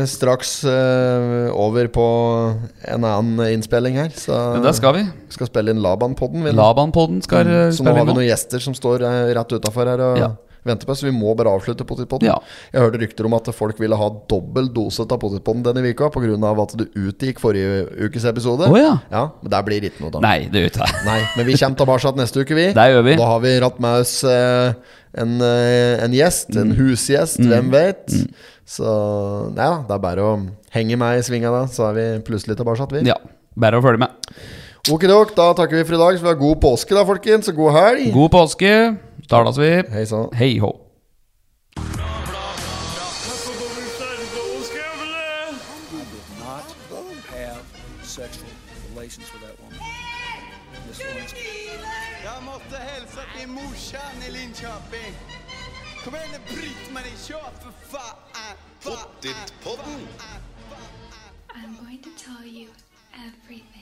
Speaker 1: straks eh, over på en annen innspilling her. Så
Speaker 2: Men der skal vi.
Speaker 1: skal spille inn Laban-podden. vi nå.
Speaker 2: Laban-podden skal eh,
Speaker 1: Mm. Så nå
Speaker 2: spille
Speaker 1: har
Speaker 2: inn
Speaker 1: vi
Speaker 2: nå.
Speaker 1: noen gjester som står eh, rett utafor her og
Speaker 2: Ja.
Speaker 1: venter på oss. Vi må bare avslutte Potetpodden.
Speaker 2: Ja.
Speaker 1: Jeg hørte rykter om at folk ville ha dobbel dose av Potetpodden denne uka pga. at det utgikk forrige ukes episode.
Speaker 2: Å ja.
Speaker 1: Men der blir det ikke noe, da.
Speaker 2: Nei, det gjør ikke det.
Speaker 1: Nei, men vi kommer tilbake neste uke, vi.
Speaker 2: Det gjør vi.
Speaker 1: Da har vi ratt med oss eh, en, eh, en gjest, en
Speaker 2: Mm.
Speaker 1: husgjest, hvem vet. Så nei da, det er bare å henge meg i svinga da, så er vi plutselig tilbake, vi.
Speaker 2: Ja, bare å følge med.
Speaker 1: Okidok, da takker vi for i dag. Så vi har god påske, da, folkens, og god helg.
Speaker 2: God påske. Tales vi.
Speaker 1: Hei sann.
Speaker 2: Hei hå.
Speaker 3: You did not have sexual relations with that woman. Miss Lewinsky.
Speaker 4: Jag måste hälsa till morsan i Linköping. Kom igen nu Britt-Marie, kör för fan! Pottit-podden!
Speaker 5: I'm going to tell you everything.